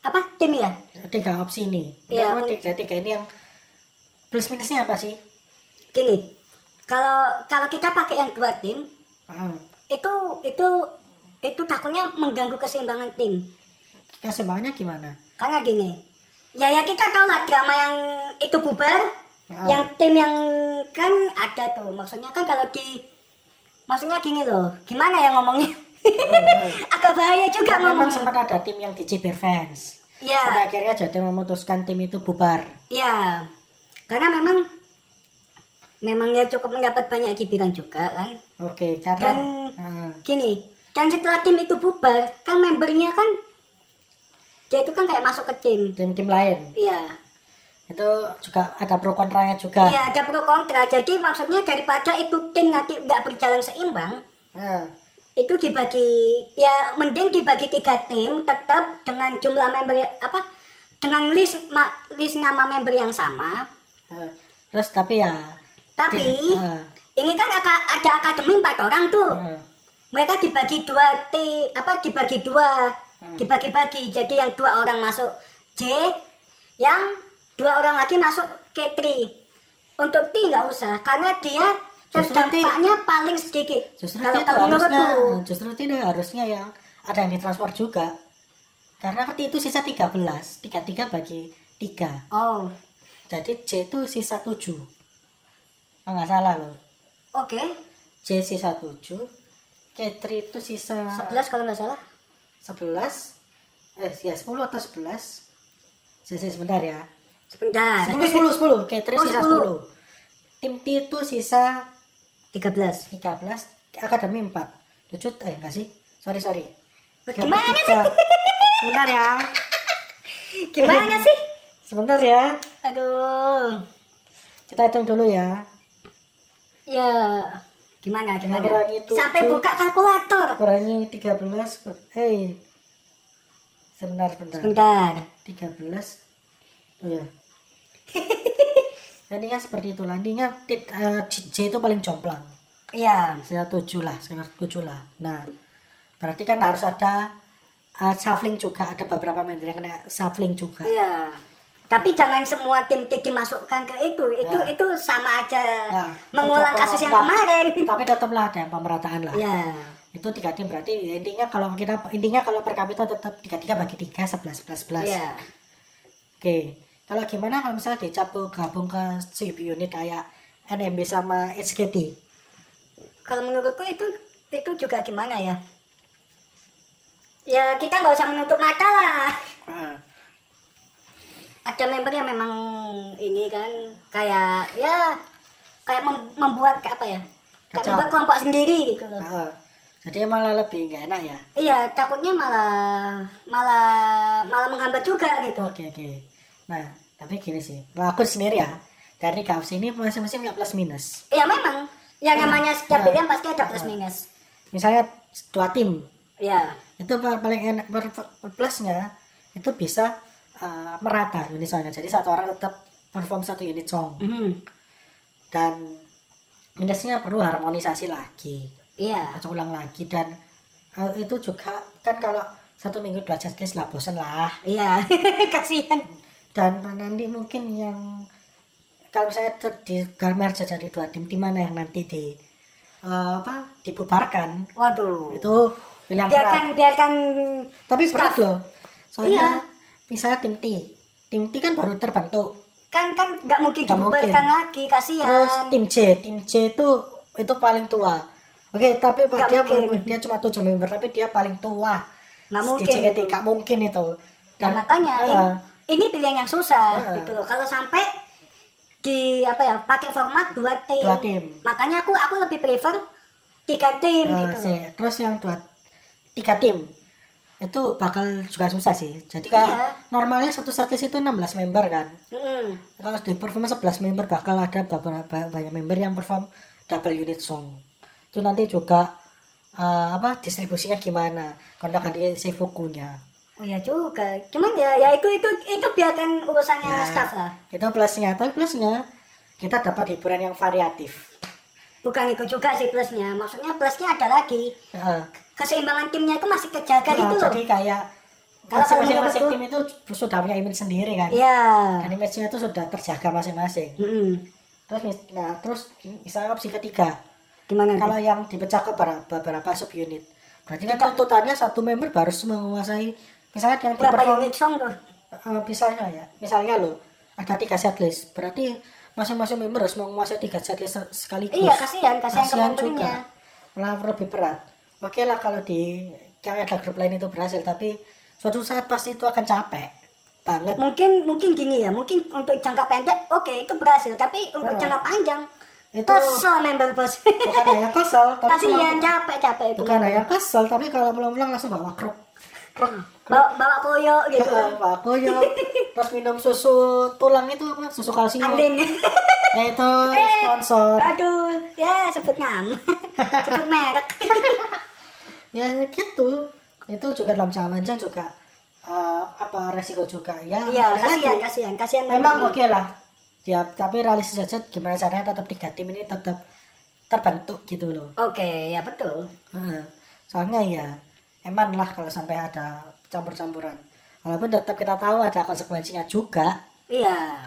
S1: apa tim ya
S2: Tiga opsi ini.
S1: Iya,
S2: Menurutmu tiga, tiga ini yang plus minusnya apa sih?
S1: gini kalau kalau kita pakai yang dua tim
S2: Ah.
S1: itu itu itu takutnya mengganggu keseimbangan tim
S2: Keseimbangannya gimana?
S1: karena gini ya ya kita tahu lah drama yang itu bubar
S2: Ah.
S1: yang tim yang kan ada tuh maksudnya kan kalau di maksudnya gini loh gimana ya ngomongnya agak bahaya juga
S2: Oh. Kan Memang Iya.
S1: ngomong
S2: sempat ada tim yang diceber fans. Pada
S1: ya
S2: akhirnya jadi memutuskan tim itu bubar.
S1: ya karena memang memangnya cukup mendapat banyak kibiran juga kan
S2: Oke, karena
S1: Dan-
S2: Ah,
S1: gini dan setelah tim itu bubar kan membernya kan dia itu kan kayak masuk ke tim
S2: tim-tim lain
S1: iya
S2: itu juga ada pro kontranya juga.
S1: iya ada pro kontra jadi maksudnya daripada itu tim nanti nggak berjalan seimbang
S2: Ah,
S1: itu dibagi ya mending dibagi tiga tim tetap dengan jumlah member ya, apa dengan list ma- list nama member yang sama
S2: ah. Terus tapi ya
S1: tapi
S2: Ah,
S1: ini kan aka- ada akademi empat orang tuh
S2: ah.
S1: mereka dibagi dua T apa dibagi dua
S2: Hmm.
S1: dibagi-bagi jadi yang dua orang masuk J yang dua orang lagi masuk K3 untuk T nggak usah karena dia
S2: Justru
S1: terdampaknya paling sedikit
S2: Justru
S1: kalau
S2: tidak
S1: kalau
S2: harusnya,
S1: menurutku
S2: justru tidak harusnya yang ada yang ditransfer juga. Karena waktu itu sisa 13, 33 bagi 3.
S1: oh
S2: Jadi C itu sisa 7. Oh, nggak salah loh.
S1: oke
S2: C sisa 7 K3 itu sisa
S1: 11 kalau nggak salah
S2: 11 eh ya 10 atau 11 Sisi sebentar ya
S1: sebentar
S2: 10 10 10 K3
S1: Nah, Oh,
S2: sisa
S1: 10.
S2: 10 Tim T itu sisa
S1: 13
S2: 13 Akademi 4 7 eh enggak sih sorry sorry
S1: Gimana sih?
S2: 23. sebentar ya
S1: gimana sih
S2: sebentar ya
S1: aduh
S2: kita hitung dulu ya
S1: ya gimana gimana
S2: Mengurangi tujuh.
S1: sampai buka kalkulator
S2: kurangi 13 kur- eh sebentar sebentar
S1: sebentar
S2: 13 oh ya landingnya seperti itu landingnya tit- eh, J itu paling jomplang
S1: iya
S2: saya 7 lah sekitar 7 lah nah berarti kan harus ada eh, shuffling juga ada beberapa member yang kena shuffling juga
S1: Iya. Tapi jangan semua tim tim dimasukkan ke itu. Itu
S2: Ya.
S1: itu sama aja
S2: Ya.
S1: mengulang
S2: Tetap
S1: kasus yang
S2: mengulang.
S1: kemarin.
S2: tapi tetaplah ada pemerataan lah
S1: Iya.
S2: itu tiga tim berarti ya intinya kalau kita intinya kalau per kapita tetap tiga tiga bagi tiga sebelas sebelas sebelas
S1: Iya.
S2: Oke, kalau gimana kalau misalnya dicampur gabung ke CB unit kayak NMB sama HKT?
S1: Kalau menurutku itu itu juga gimana ya? Ya kita nggak usah menutup mata lah. Ada member yang memang ini kan kayak ya kayak mem- membuat kayak apa ya? Kayak
S2: Kacau. Ah.
S1: membuat kelompok sendiri gitu loh.
S2: Heeh. Jadi malah lebih nggak enak ya.
S1: Iya, takutnya malah malah malah menghambat juga gitu.
S2: Oke oke. Nah, tapi gini sih, kalau aku sendiri ya dari kaos ini masing-masing nggak plus minus.
S1: Iya memang. Yang namanya setiap
S2: Ya.
S1: pilihan pasti ada plus minus.
S2: Misalnya dua tim
S1: Iya.
S2: itu pa- paling enak per- plusnya itu bisa eh, merata unit soalnya. Jadi satu orang tetap perform satu unit song
S1: Mhm.
S2: dan minusnya perlu harmonisasi lagi.
S1: Iya.
S2: Baca ulang lagi dan eh, itu juga kan kalau satu minggu dua checklist lah bosen lah
S1: Iya. Kasihan.
S2: dan Pak Nandi mungkin yang kalau saya di Galmer jadi dua tim di mana yang nanti di eh, apa dibubarkan
S1: Waduh.
S2: itu pilihan berat
S1: Biarkan biarkan
S2: tapi berat loh
S1: Iya.
S2: soalnya misalnya tim T tim T kan baru terbentuk
S1: kan kan nggak mungkin
S2: Nggak
S1: dibubarkan lagi kasihan.
S2: terus tim C tim C itu itu paling tua oke tapi Pak,
S1: Nggak
S2: dia
S1: mungkin.
S2: walaupun dia cuma tujuh member tapi dia paling tua
S1: Nggak
S2: Di
S1: mungkin.
S2: JKT, nggak mungkin itu
S1: Nah, makanya
S2: eh,
S1: ini, ini pilihan yang susah
S2: Iya.
S1: gitu loh. Kalau sampai di apa ya pakai format dua tim.
S2: Dua tim.
S1: Makanya aku aku lebih prefer tiga tim
S2: Eh,
S1: gitu.
S2: sih. Terus yang dua tiga tim itu bakal juga susah sih. Jadi kayak
S1: Iya.
S2: normalnya satu setlist itu 16 member kan.
S1: Mm-mm.
S2: Kalau di perform 11 member bakal ada beberapa banyak member yang perform double unit song. Itu nanti juga eh, apa distribusinya gimana? Kontak ganti seifukunya.
S1: Oh ya juga. Cuman ya ya itu itu itu biarkan urusannya
S2: Ya.
S1: staff lah.
S2: Itu plusnya, tapi plusnya kita dapat hiburan yang variatif.
S1: Bukan itu juga sih plusnya. Maksudnya plusnya ada lagi.
S2: Heeh.
S1: Keseimbangan timnya itu masih kejaga
S2: Nah,
S1: gitu loh.
S2: jadi kayak
S1: Kalau kalau
S2: masing-masing
S1: menurutku-
S2: tim itu sudah punya image sendiri kan.
S1: Iya.
S2: animasinya itu sudah terjaga masing-masing
S1: Mm-mm.
S2: terus mis- nah terus misalnya opsi ketiga
S1: Gimana?
S2: kalau yang dipecah ke ber- beberapa subunit berarti kan tuntutannya satu member harus menguasai misalnya yang
S1: berapa
S2: diperform-
S1: unit song tuh?
S2: eh, misalnya ya misalnya lo ada tiga setlist berarti masing-masing member harus menguasai tiga setlist se- sekaligus
S1: Iya, kasihan, kasihan ke
S2: Kasihan
S1: membernya.
S2: juga malah lebih berat oke lah kalau di yang ada grup lain itu berhasil tapi suatu saat pasti itu akan capek banget
S1: mungkin mungkin gini ya mungkin untuk jangka pendek oke itu berhasil tapi untuk
S2: Hmm.
S1: jangka panjang
S2: Itu-
S1: itu kesel member bos
S2: bukan hanya kesel tapi
S1: kasihan capek capek itu
S2: bukan hanya kesel tapi kalau pulang-pulang langsung bawa kruk
S1: bawa bawa koyo gitu
S2: bawa koyok terus ya minum susu tulang itu apa susu kalsium
S1: Andin
S2: ya itu sponsor
S1: aduh ya sebut nama sebut merek
S2: ya gitu itu juga dalam jangka juga eh, apa resiko juga ya
S1: iya
S2: balik lagi.
S1: kasihan kasihan kasihan
S2: memang
S1: member.
S2: oke lah ya tapi realistis aja gimana caranya tetap tiga tim ini tetap terbentuk gitu loh
S1: oke ya betul
S2: Heeh. soalnya ya eman lah kalau sampai ada campur-campuran walaupun tetap kita tahu ada konsekuensinya juga
S1: iya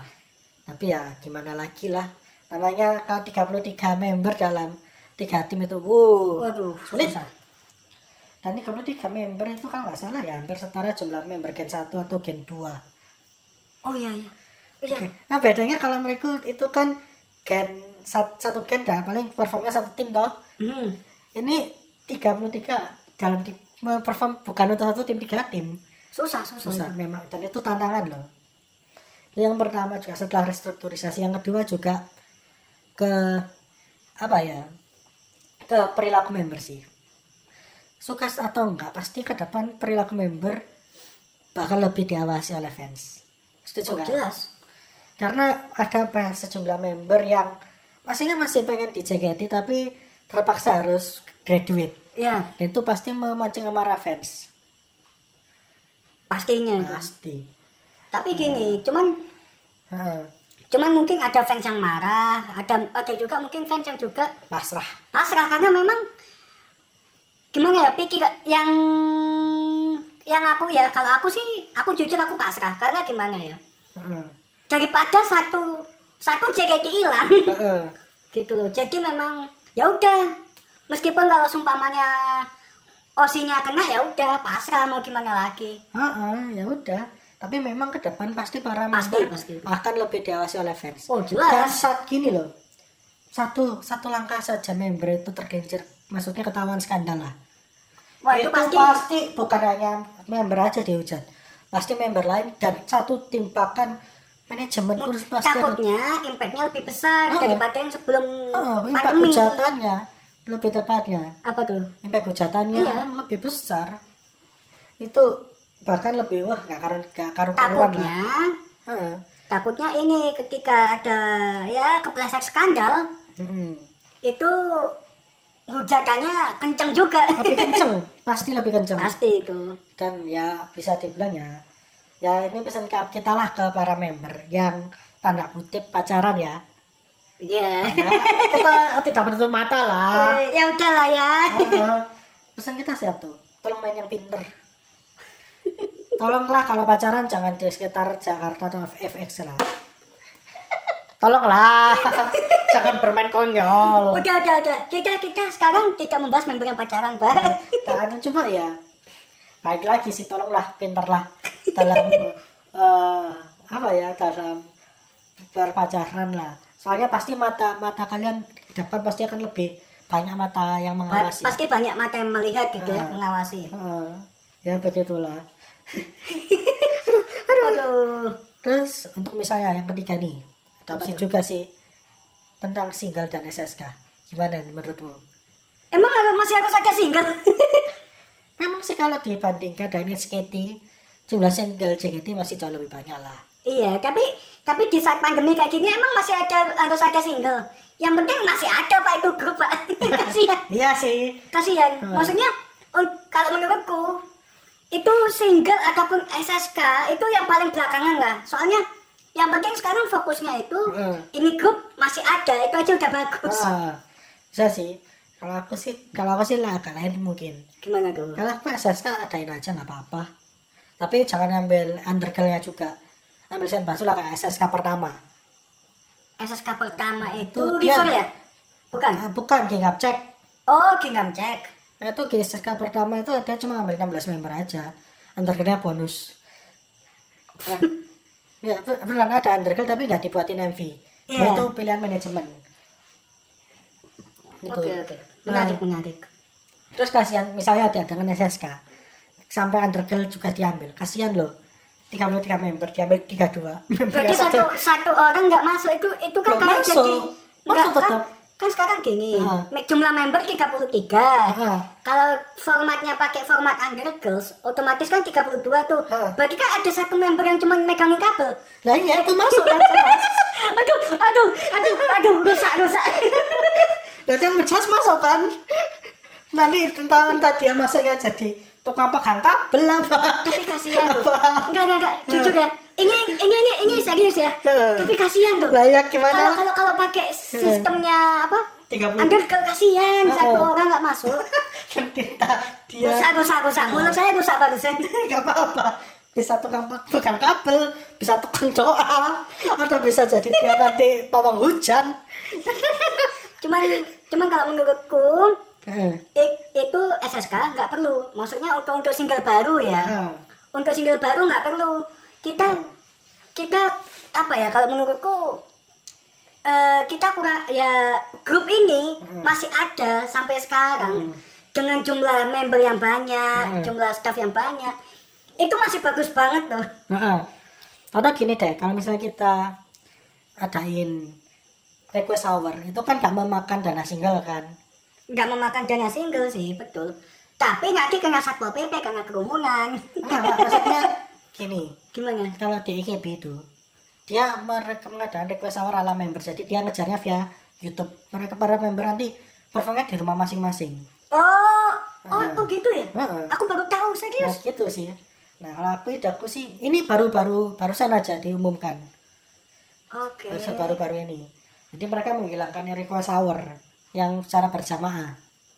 S2: tapi ya gimana lagi lah namanya kalau 33 member dalam tiga tim itu wow
S1: waduh
S2: sulit dan 33 member itu kalau nggak salah ya hampir setara jumlah member gen 1 atau gen 2
S1: oh iya iya iya
S2: nah bedanya kalau mereka itu kan gen sat- satu gen dah paling performnya satu tim toh
S1: hmm.
S2: ini 33 dalam tim perform bukan untuk satu tim tiga tim
S1: susah susah,
S2: susah memang dan itu tantangan loh yang pertama juga setelah restrukturisasi yang kedua juga ke apa ya ke perilaku member sih suka atau enggak pasti ke depan perilaku member bakal lebih diawasi oleh fans
S1: Oh,
S2: setuju nggak?
S1: jelas
S2: karena ada apa- sejumlah member yang pastinya masih pengen di JKT tapi terpaksa harus graduate
S1: iya
S2: dan itu pasti memancing amarah fans
S1: pastinya itu.
S2: pasti
S1: Nah. tapi gini cuman
S2: Heeh.
S1: cuman mungkin ada fans yang marah ada ada juga mungkin fans yang juga
S2: pasrah
S1: pasrah karena memang gimana ya pikir yang yang aku ya kalau aku sih aku jujur aku pasrah karena gimana ya
S2: Heeh.
S1: daripada satu satu JKT hilang
S2: Heeh.
S1: gitu loh jadi memang ya udah meskipun kalau sumpamanya osinya kena ya udah pasrah mau gimana lagi
S2: Heeh, ya udah. Tapi memang ke depan pasti para
S1: Pasti,
S2: member
S1: pasti.
S2: akan lebih diawasi oleh fans.
S1: oh
S2: Dan
S1: jelas
S2: saat gini loh, satu satu langkah saja member itu tergencet, maksudnya ketahuan skandal lah.
S1: wah itu pasti
S2: bukan hanya member aja dihujat, pasti member lain dan satu tim bahkan manajemen pun pasti ada-
S1: takutnya impactnya lebih besar
S2: Heeh.
S1: daripada yang sebelum
S2: Heeh, Oh, impact
S1: pandemi
S2: hujatannya lebih tepatnya
S1: apa tuh
S2: impact hujatannya
S1: Iya.
S2: lebih besar itu bahkan lebih wah nggak karuan nggak karuan lah.
S1: takutnya
S2: Heeh.
S1: takutnya ini ketika ada ya kepleset skandal
S2: Mm-mm.
S1: itu hujatannya kenceng juga
S2: lebih kenceng pasti lebih kenceng
S1: pasti itu
S2: dan ya bisa dibilang ya ya ini pesan ka- kita lah ke para member yang tanda kutip pacaran ya
S1: Iya.
S2: Ya, kita tidak menutup mata lah
S1: Eh, ya udah lah ya.
S2: Heeh. pesan kita siap tuh tolong main yang pinter tolonglah kalau pacaran jangan di sekitar Jakarta atau FX lah tolonglah jangan bermain konyol
S1: Udah udah udah. Kita kita sekarang tidak membahas member yang pacaran, Pak.
S2: tak ada cuma ya baik lagi sih tolonglah pinterlah dalam eh, apa ya dalam berpacaran lah soalnya pasti mata mata kalian ke depan pasti akan lebih banyak mata yang
S1: Pa-
S2: mengawasi
S1: Pasti banyak mata yang melihat gitu ya,
S2: Ah.
S1: mengawasi.
S2: Heeh. ya begitulah
S1: Aduh.
S2: Terus untuk misalnya yang ketiga nih, adopsi juga sih tentang single dan SSK. Gimana nih menurutmu?
S1: Emang harus masih harus ada single?
S2: Memang sih kalau dibandingkan dengan SKT, jumlah single JKT masih jauh lebih banyak lah.
S1: iya, tapi tapi di saat pandemi kayak gini emang masih ada harus ada single. Yang penting masih ada Pak itu grup Pak. Kasihan.
S2: Iya sih.
S1: Kasihan.
S2: Hmm.
S1: Maksudnya un- kalau menurutku itu single ataupun SSK itu yang paling belakangan lah. Soalnya yang penting sekarang fokusnya itu
S2: Hmm.
S1: ini grup masih ada itu aja udah bagus.
S2: Ah, bisa sih. Kalau aku sih, kalau aku sih lah agak lain mungkin.
S1: Gimana tuh?
S2: Kalau aku SSK adain aja nggak apa-apa. Tapi jangan ambil undergirl-nya juga. Ambil sen lah kayak SSK pertama.
S1: SSK pertama itu
S2: Tuh, dia.
S1: Risol ya? Bukan.
S2: Ah, bukan King Up Check.
S1: Oh, Kingdom Jack.
S2: Nah, itu GSK pertama itu ada cuma ambil 16 member aja. Underground bonus. ya, per- pernah ada underground tapi nggak dibuatin MV.
S1: Iya.
S2: Nah, Itu pilihan manajemen. Gitu.
S1: Oke, oke. Menarik, menarik.
S2: Terus kasihan misalnya ada dengan SSK sampai undergirl juga diambil. Kasihan loh. 33 member diambil 32. Member
S1: Berarti
S2: yang
S1: satu satu orang nggak masuk itu itu kan
S2: Nggak
S1: kalau
S2: masuk.
S1: jadi
S2: Masuk
S1: nggak, kan,
S2: tetap.
S1: kan sekarang gini,
S2: Ah.
S1: me- jumlah member 33.
S2: Ah.
S1: Kalau formatnya pakai format Under Girls, otomatis kan 32 tuh.
S2: Ah.
S1: Berarti kan ada satu member yang cuma megangin kabel.
S2: Nah, iya itu masuk kan.
S1: aduh, aduh, aduh, aduh, rusak, rusak.
S2: Berarti yang ngecas masuk kan. Nanti tentang tadi yang masuknya jadi tukang pegang kabel apa.
S1: Tapi kasihan tuh. Enggak, enggak, enggak, jujur ya. Ini ini ini ini serius ya.
S2: Ah.
S1: Tapi kasihan tuh.
S2: layak
S1: Kalau
S2: gimana?
S1: kalau kalau pakai sistemnya apa?
S2: 30.
S1: Under girl kasihan satu
S2: Oh.
S1: orang nggak masuk.
S2: Kita dia
S1: Rusak, rusak, rusak. Mulut saya rusak barusan.
S2: nggak apa-apa. Bisa tukang pak- pegang kabel, bisa tukang doa, atau bisa jadi dia nanti pawang hujan.
S1: Cuman cuman kalau menurutku
S2: Heeh.
S1: i- itu SSK nggak perlu. Maksudnya untuk untuk single baru ya.
S2: Ah,
S1: Untuk single baru nggak perlu. Kita kita apa ya kalau menurutku eh, kita kurang ya grup ini masih ada sampai sekarang dengan jumlah member yang banyak, jumlah staff yang banyak. Itu masih bagus banget loh.
S2: ah. Atau gini deh, kalau misalnya kita adain request hour, itu kan gak memakan dana single kan?
S1: nggak memakan dana single sih betul tapi nanti kena satpol pp kena kerumunan
S2: Nah, maksudnya gini,
S1: gimana
S2: kalau di IKB itu dia merekomendasikan request hour ala member jadi dia ngejarnya via YouTube mereka para member nanti performnya di rumah masing-masing
S1: oh oh, oh gitu ya
S2: Heeh.
S1: aku baru tahu
S2: nah
S1: serius
S2: gitu sih nah kalau aku ide aku sih ini baru-baru barusan aja diumumkan
S1: oke
S2: barusan baru-baru ini jadi mereka menghilangkan request hour yang secara berjamaah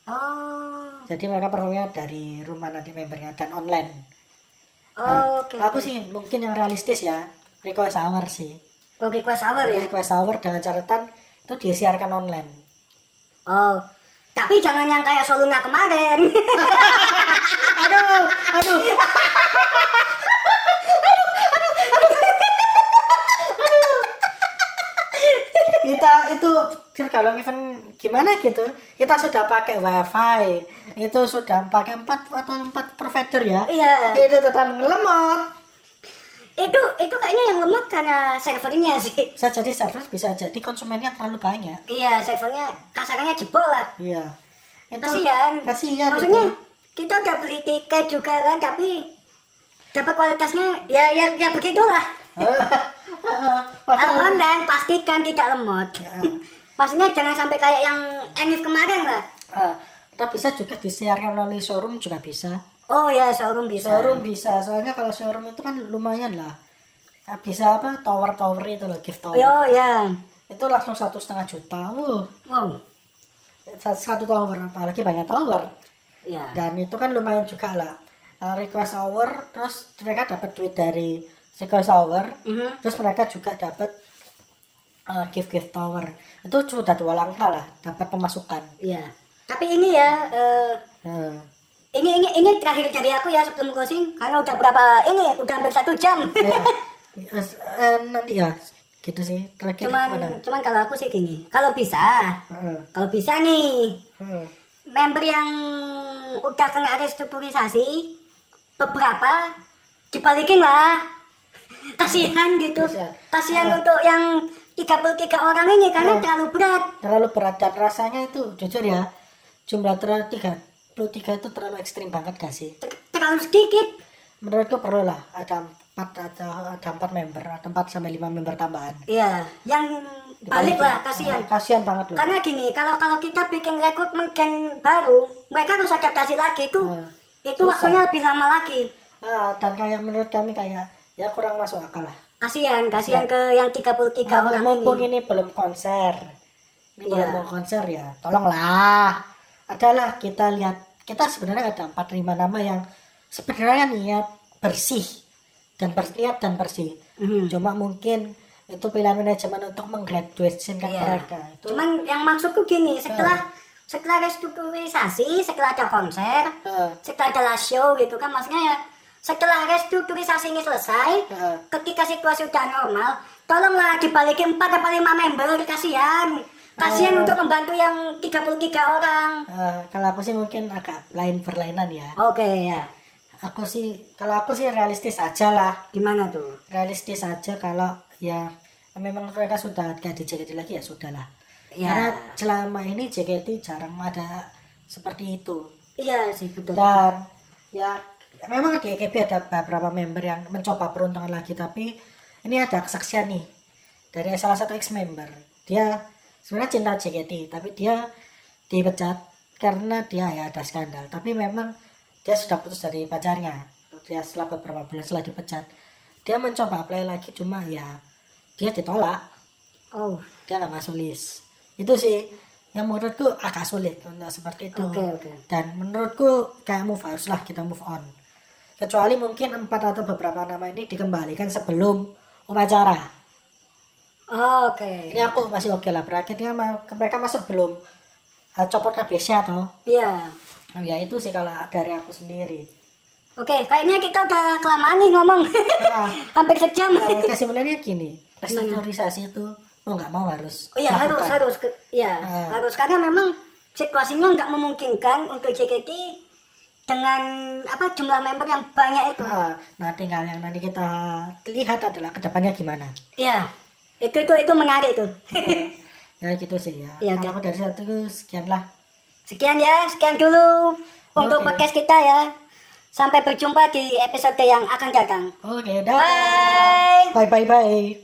S1: oh
S2: jadi mereka performnya dari rumah nanti membernya dan online
S1: oke
S2: Kalau aku sih mungkin yang realistis ya request hour sih
S1: oke kelas hour ya
S2: request hour dengan catatan itu disiarkan online
S1: oh tapi jangan yang kayak soluna kemarin
S2: aduh aduh kita itu kalau event gimana gitu kita sudah pakai wifi itu sudah pakai empat atau empat provider ya
S1: Iya.
S2: itu tetap ngelemot
S1: itu itu kayaknya yang lemot karena servernya sih
S2: bisa jadi server bisa jadi konsumennya terlalu banyak
S1: iya servernya kasarnya jebol lah
S2: iya itu
S1: kasihan
S2: kasihan
S1: maksudnya
S2: itu.
S1: kita udah beli tiket juga kan tapi dapat kualitasnya ya ya ya begitulah
S2: Padahal-
S1: kalau online pastikan tidak lemot
S2: Ya.
S1: maksudnya jangan sampai kayak yang Enif kemarin lah
S2: Ah, atau bisa juga disiarkan melalui showroom juga bisa
S1: oh ya showroom bisa
S2: Showroom bisa, soalnya kalau Eh, showroom itu kan lumayan lah. Bisa apa tower-tower itu loh, gift tower.
S1: yo ya
S2: itu langsung satu setengah juta wow
S1: Wow.
S2: satu, satu tower apalagi banyak tower
S1: Ya.
S2: dan itu kan lumayan juga lah Uh, request hour terus mereka dapat duit dari request hour
S1: Mhm.
S2: terus mereka juga dapat uh, gift gift tower itu sudah dua langkah lah dapat pemasukan
S1: Ya. Tapi ini ya eh,
S2: Hmm.
S1: ini ini ini terakhir dari aku ya sebelum closing karena udah berapa ini udah hampir satu jam.
S2: Ya. Yes, eh, nanti ya gitu sih terakhir
S1: cuman
S2: gimana?
S1: cuman kalau aku sih gini, kalau bisa,
S2: Heeh.
S1: kalau bisa nih
S2: Heeh.
S1: member yang udah kena restrukturisasi beberapa dibalikin lah kasihan gitu
S2: Kasihan.
S1: kasihan untuk yang 33 orang ini karena terlalu berat
S2: terlalu berat dan rasanya itu jujur ya jumlah terlalu tiga itu terlalu ekstrim banget gak sih
S1: ter- terlalu sedikit
S2: menurutku perlu lah ada empat atau ada empat member ada empat sampai lima member tambahan
S1: ya yang balik lah kasihan Kan
S2: Eh, kasihan banget loh
S1: karena gini kalau kalau kita bikin rekrutmen gen baru mereka harus adaptasi lagi itu
S2: Hmm.
S1: itu waktunya lebih lama lagi
S2: Ah, dan kayak menurut kami kayak ya kurang masuk akal lah
S1: kasihan kasihan ke yang 33 orang ini
S2: mumpung ini belum konser ini
S1: Iya.
S2: belum mau konser ya tolonglah adalah kita lihat kita sebenarnya ada empat lima nama yang sebenarnya niat bersih dan berniat dan bersih
S1: Mhm.
S2: cuma mungkin itu pilihan manajemen untuk menggraduation kan
S1: Iya.
S2: mereka itu
S1: Cuman yang maksudku gini, setelah setelah restrukturisasi, setelah ada konser,
S2: Eh,
S1: setelah ada last show gitu kan maksudnya ya setelah restrukturisasi ini selesai,
S2: eh,
S1: ketika situasi udah normal, tolonglah dibalikin 4 atau 5 member, kasihan. Kasihan untuk membantu yang 33 orang.
S2: eh, kalau aku sih mungkin agak lain berlainan ya
S1: Oke ya.
S2: aku sih kalau aku sih realistis aja lah
S1: Gimana tuh?
S2: realistis aja kalau ya memang mereka sudah gak di JKT lagi ya sudahlah
S1: Ya.
S2: karena selama ini JKT jarang ada seperti itu
S1: Iya sih betul.
S2: dan ya memang di EKB ada beberapa member yang mencoba peruntungan lagi tapi ini ada kesaksian nih dari salah satu ex member dia sebenarnya cinta JKT tapi dia dipecat karena dia ya ada skandal tapi memang dia sudah putus dari pacarnya dia setelah beberapa bulan setelah dipecat dia mencoba apply lagi cuma ya dia ditolak
S1: Oh,
S2: dia nggak masuk list itu sih yang menurutku agak sulit untuk seperti itu
S1: oke oke.
S2: dan menurutku kayak move haruslah kita move on kecuali mungkin empat atau beberapa nama ini dikembalikan sebelum upacara
S1: Oke.
S2: ini aku masih oke lah bracketnya ma- mereka masuk belum eh, copot habisnya atau
S1: Iya.
S2: ya itu sih kalau dari aku sendiri
S1: Oke, kayaknya kita udah kelamaan nih ngomong. Iya.
S2: nah,
S1: Hampir sejam.
S2: eh, kayak sebenarnya gini restrukturisasi itu mau nggak mau harus
S1: Oh iya harus
S2: dilakukan.
S1: harus ke- ya
S2: Ah.
S1: harus karena memang situasinya nggak memungkinkan untuk JKT dengan apa jumlah member yang banyak itu.
S2: Ah, nah tinggal yang nanti kita lihat adalah kedepannya gimana
S1: Iya itu itu itu menarik itu.
S2: ya gitu sih ya,
S1: Iya,
S2: kalau dari satu sekianlah
S1: sekian ya sekian dulu untuk
S2: Oke.
S1: podcast kita ya. Sampai berjumpa di episode yang akan datang.
S2: oke dah
S1: Bye.
S2: bye bye bye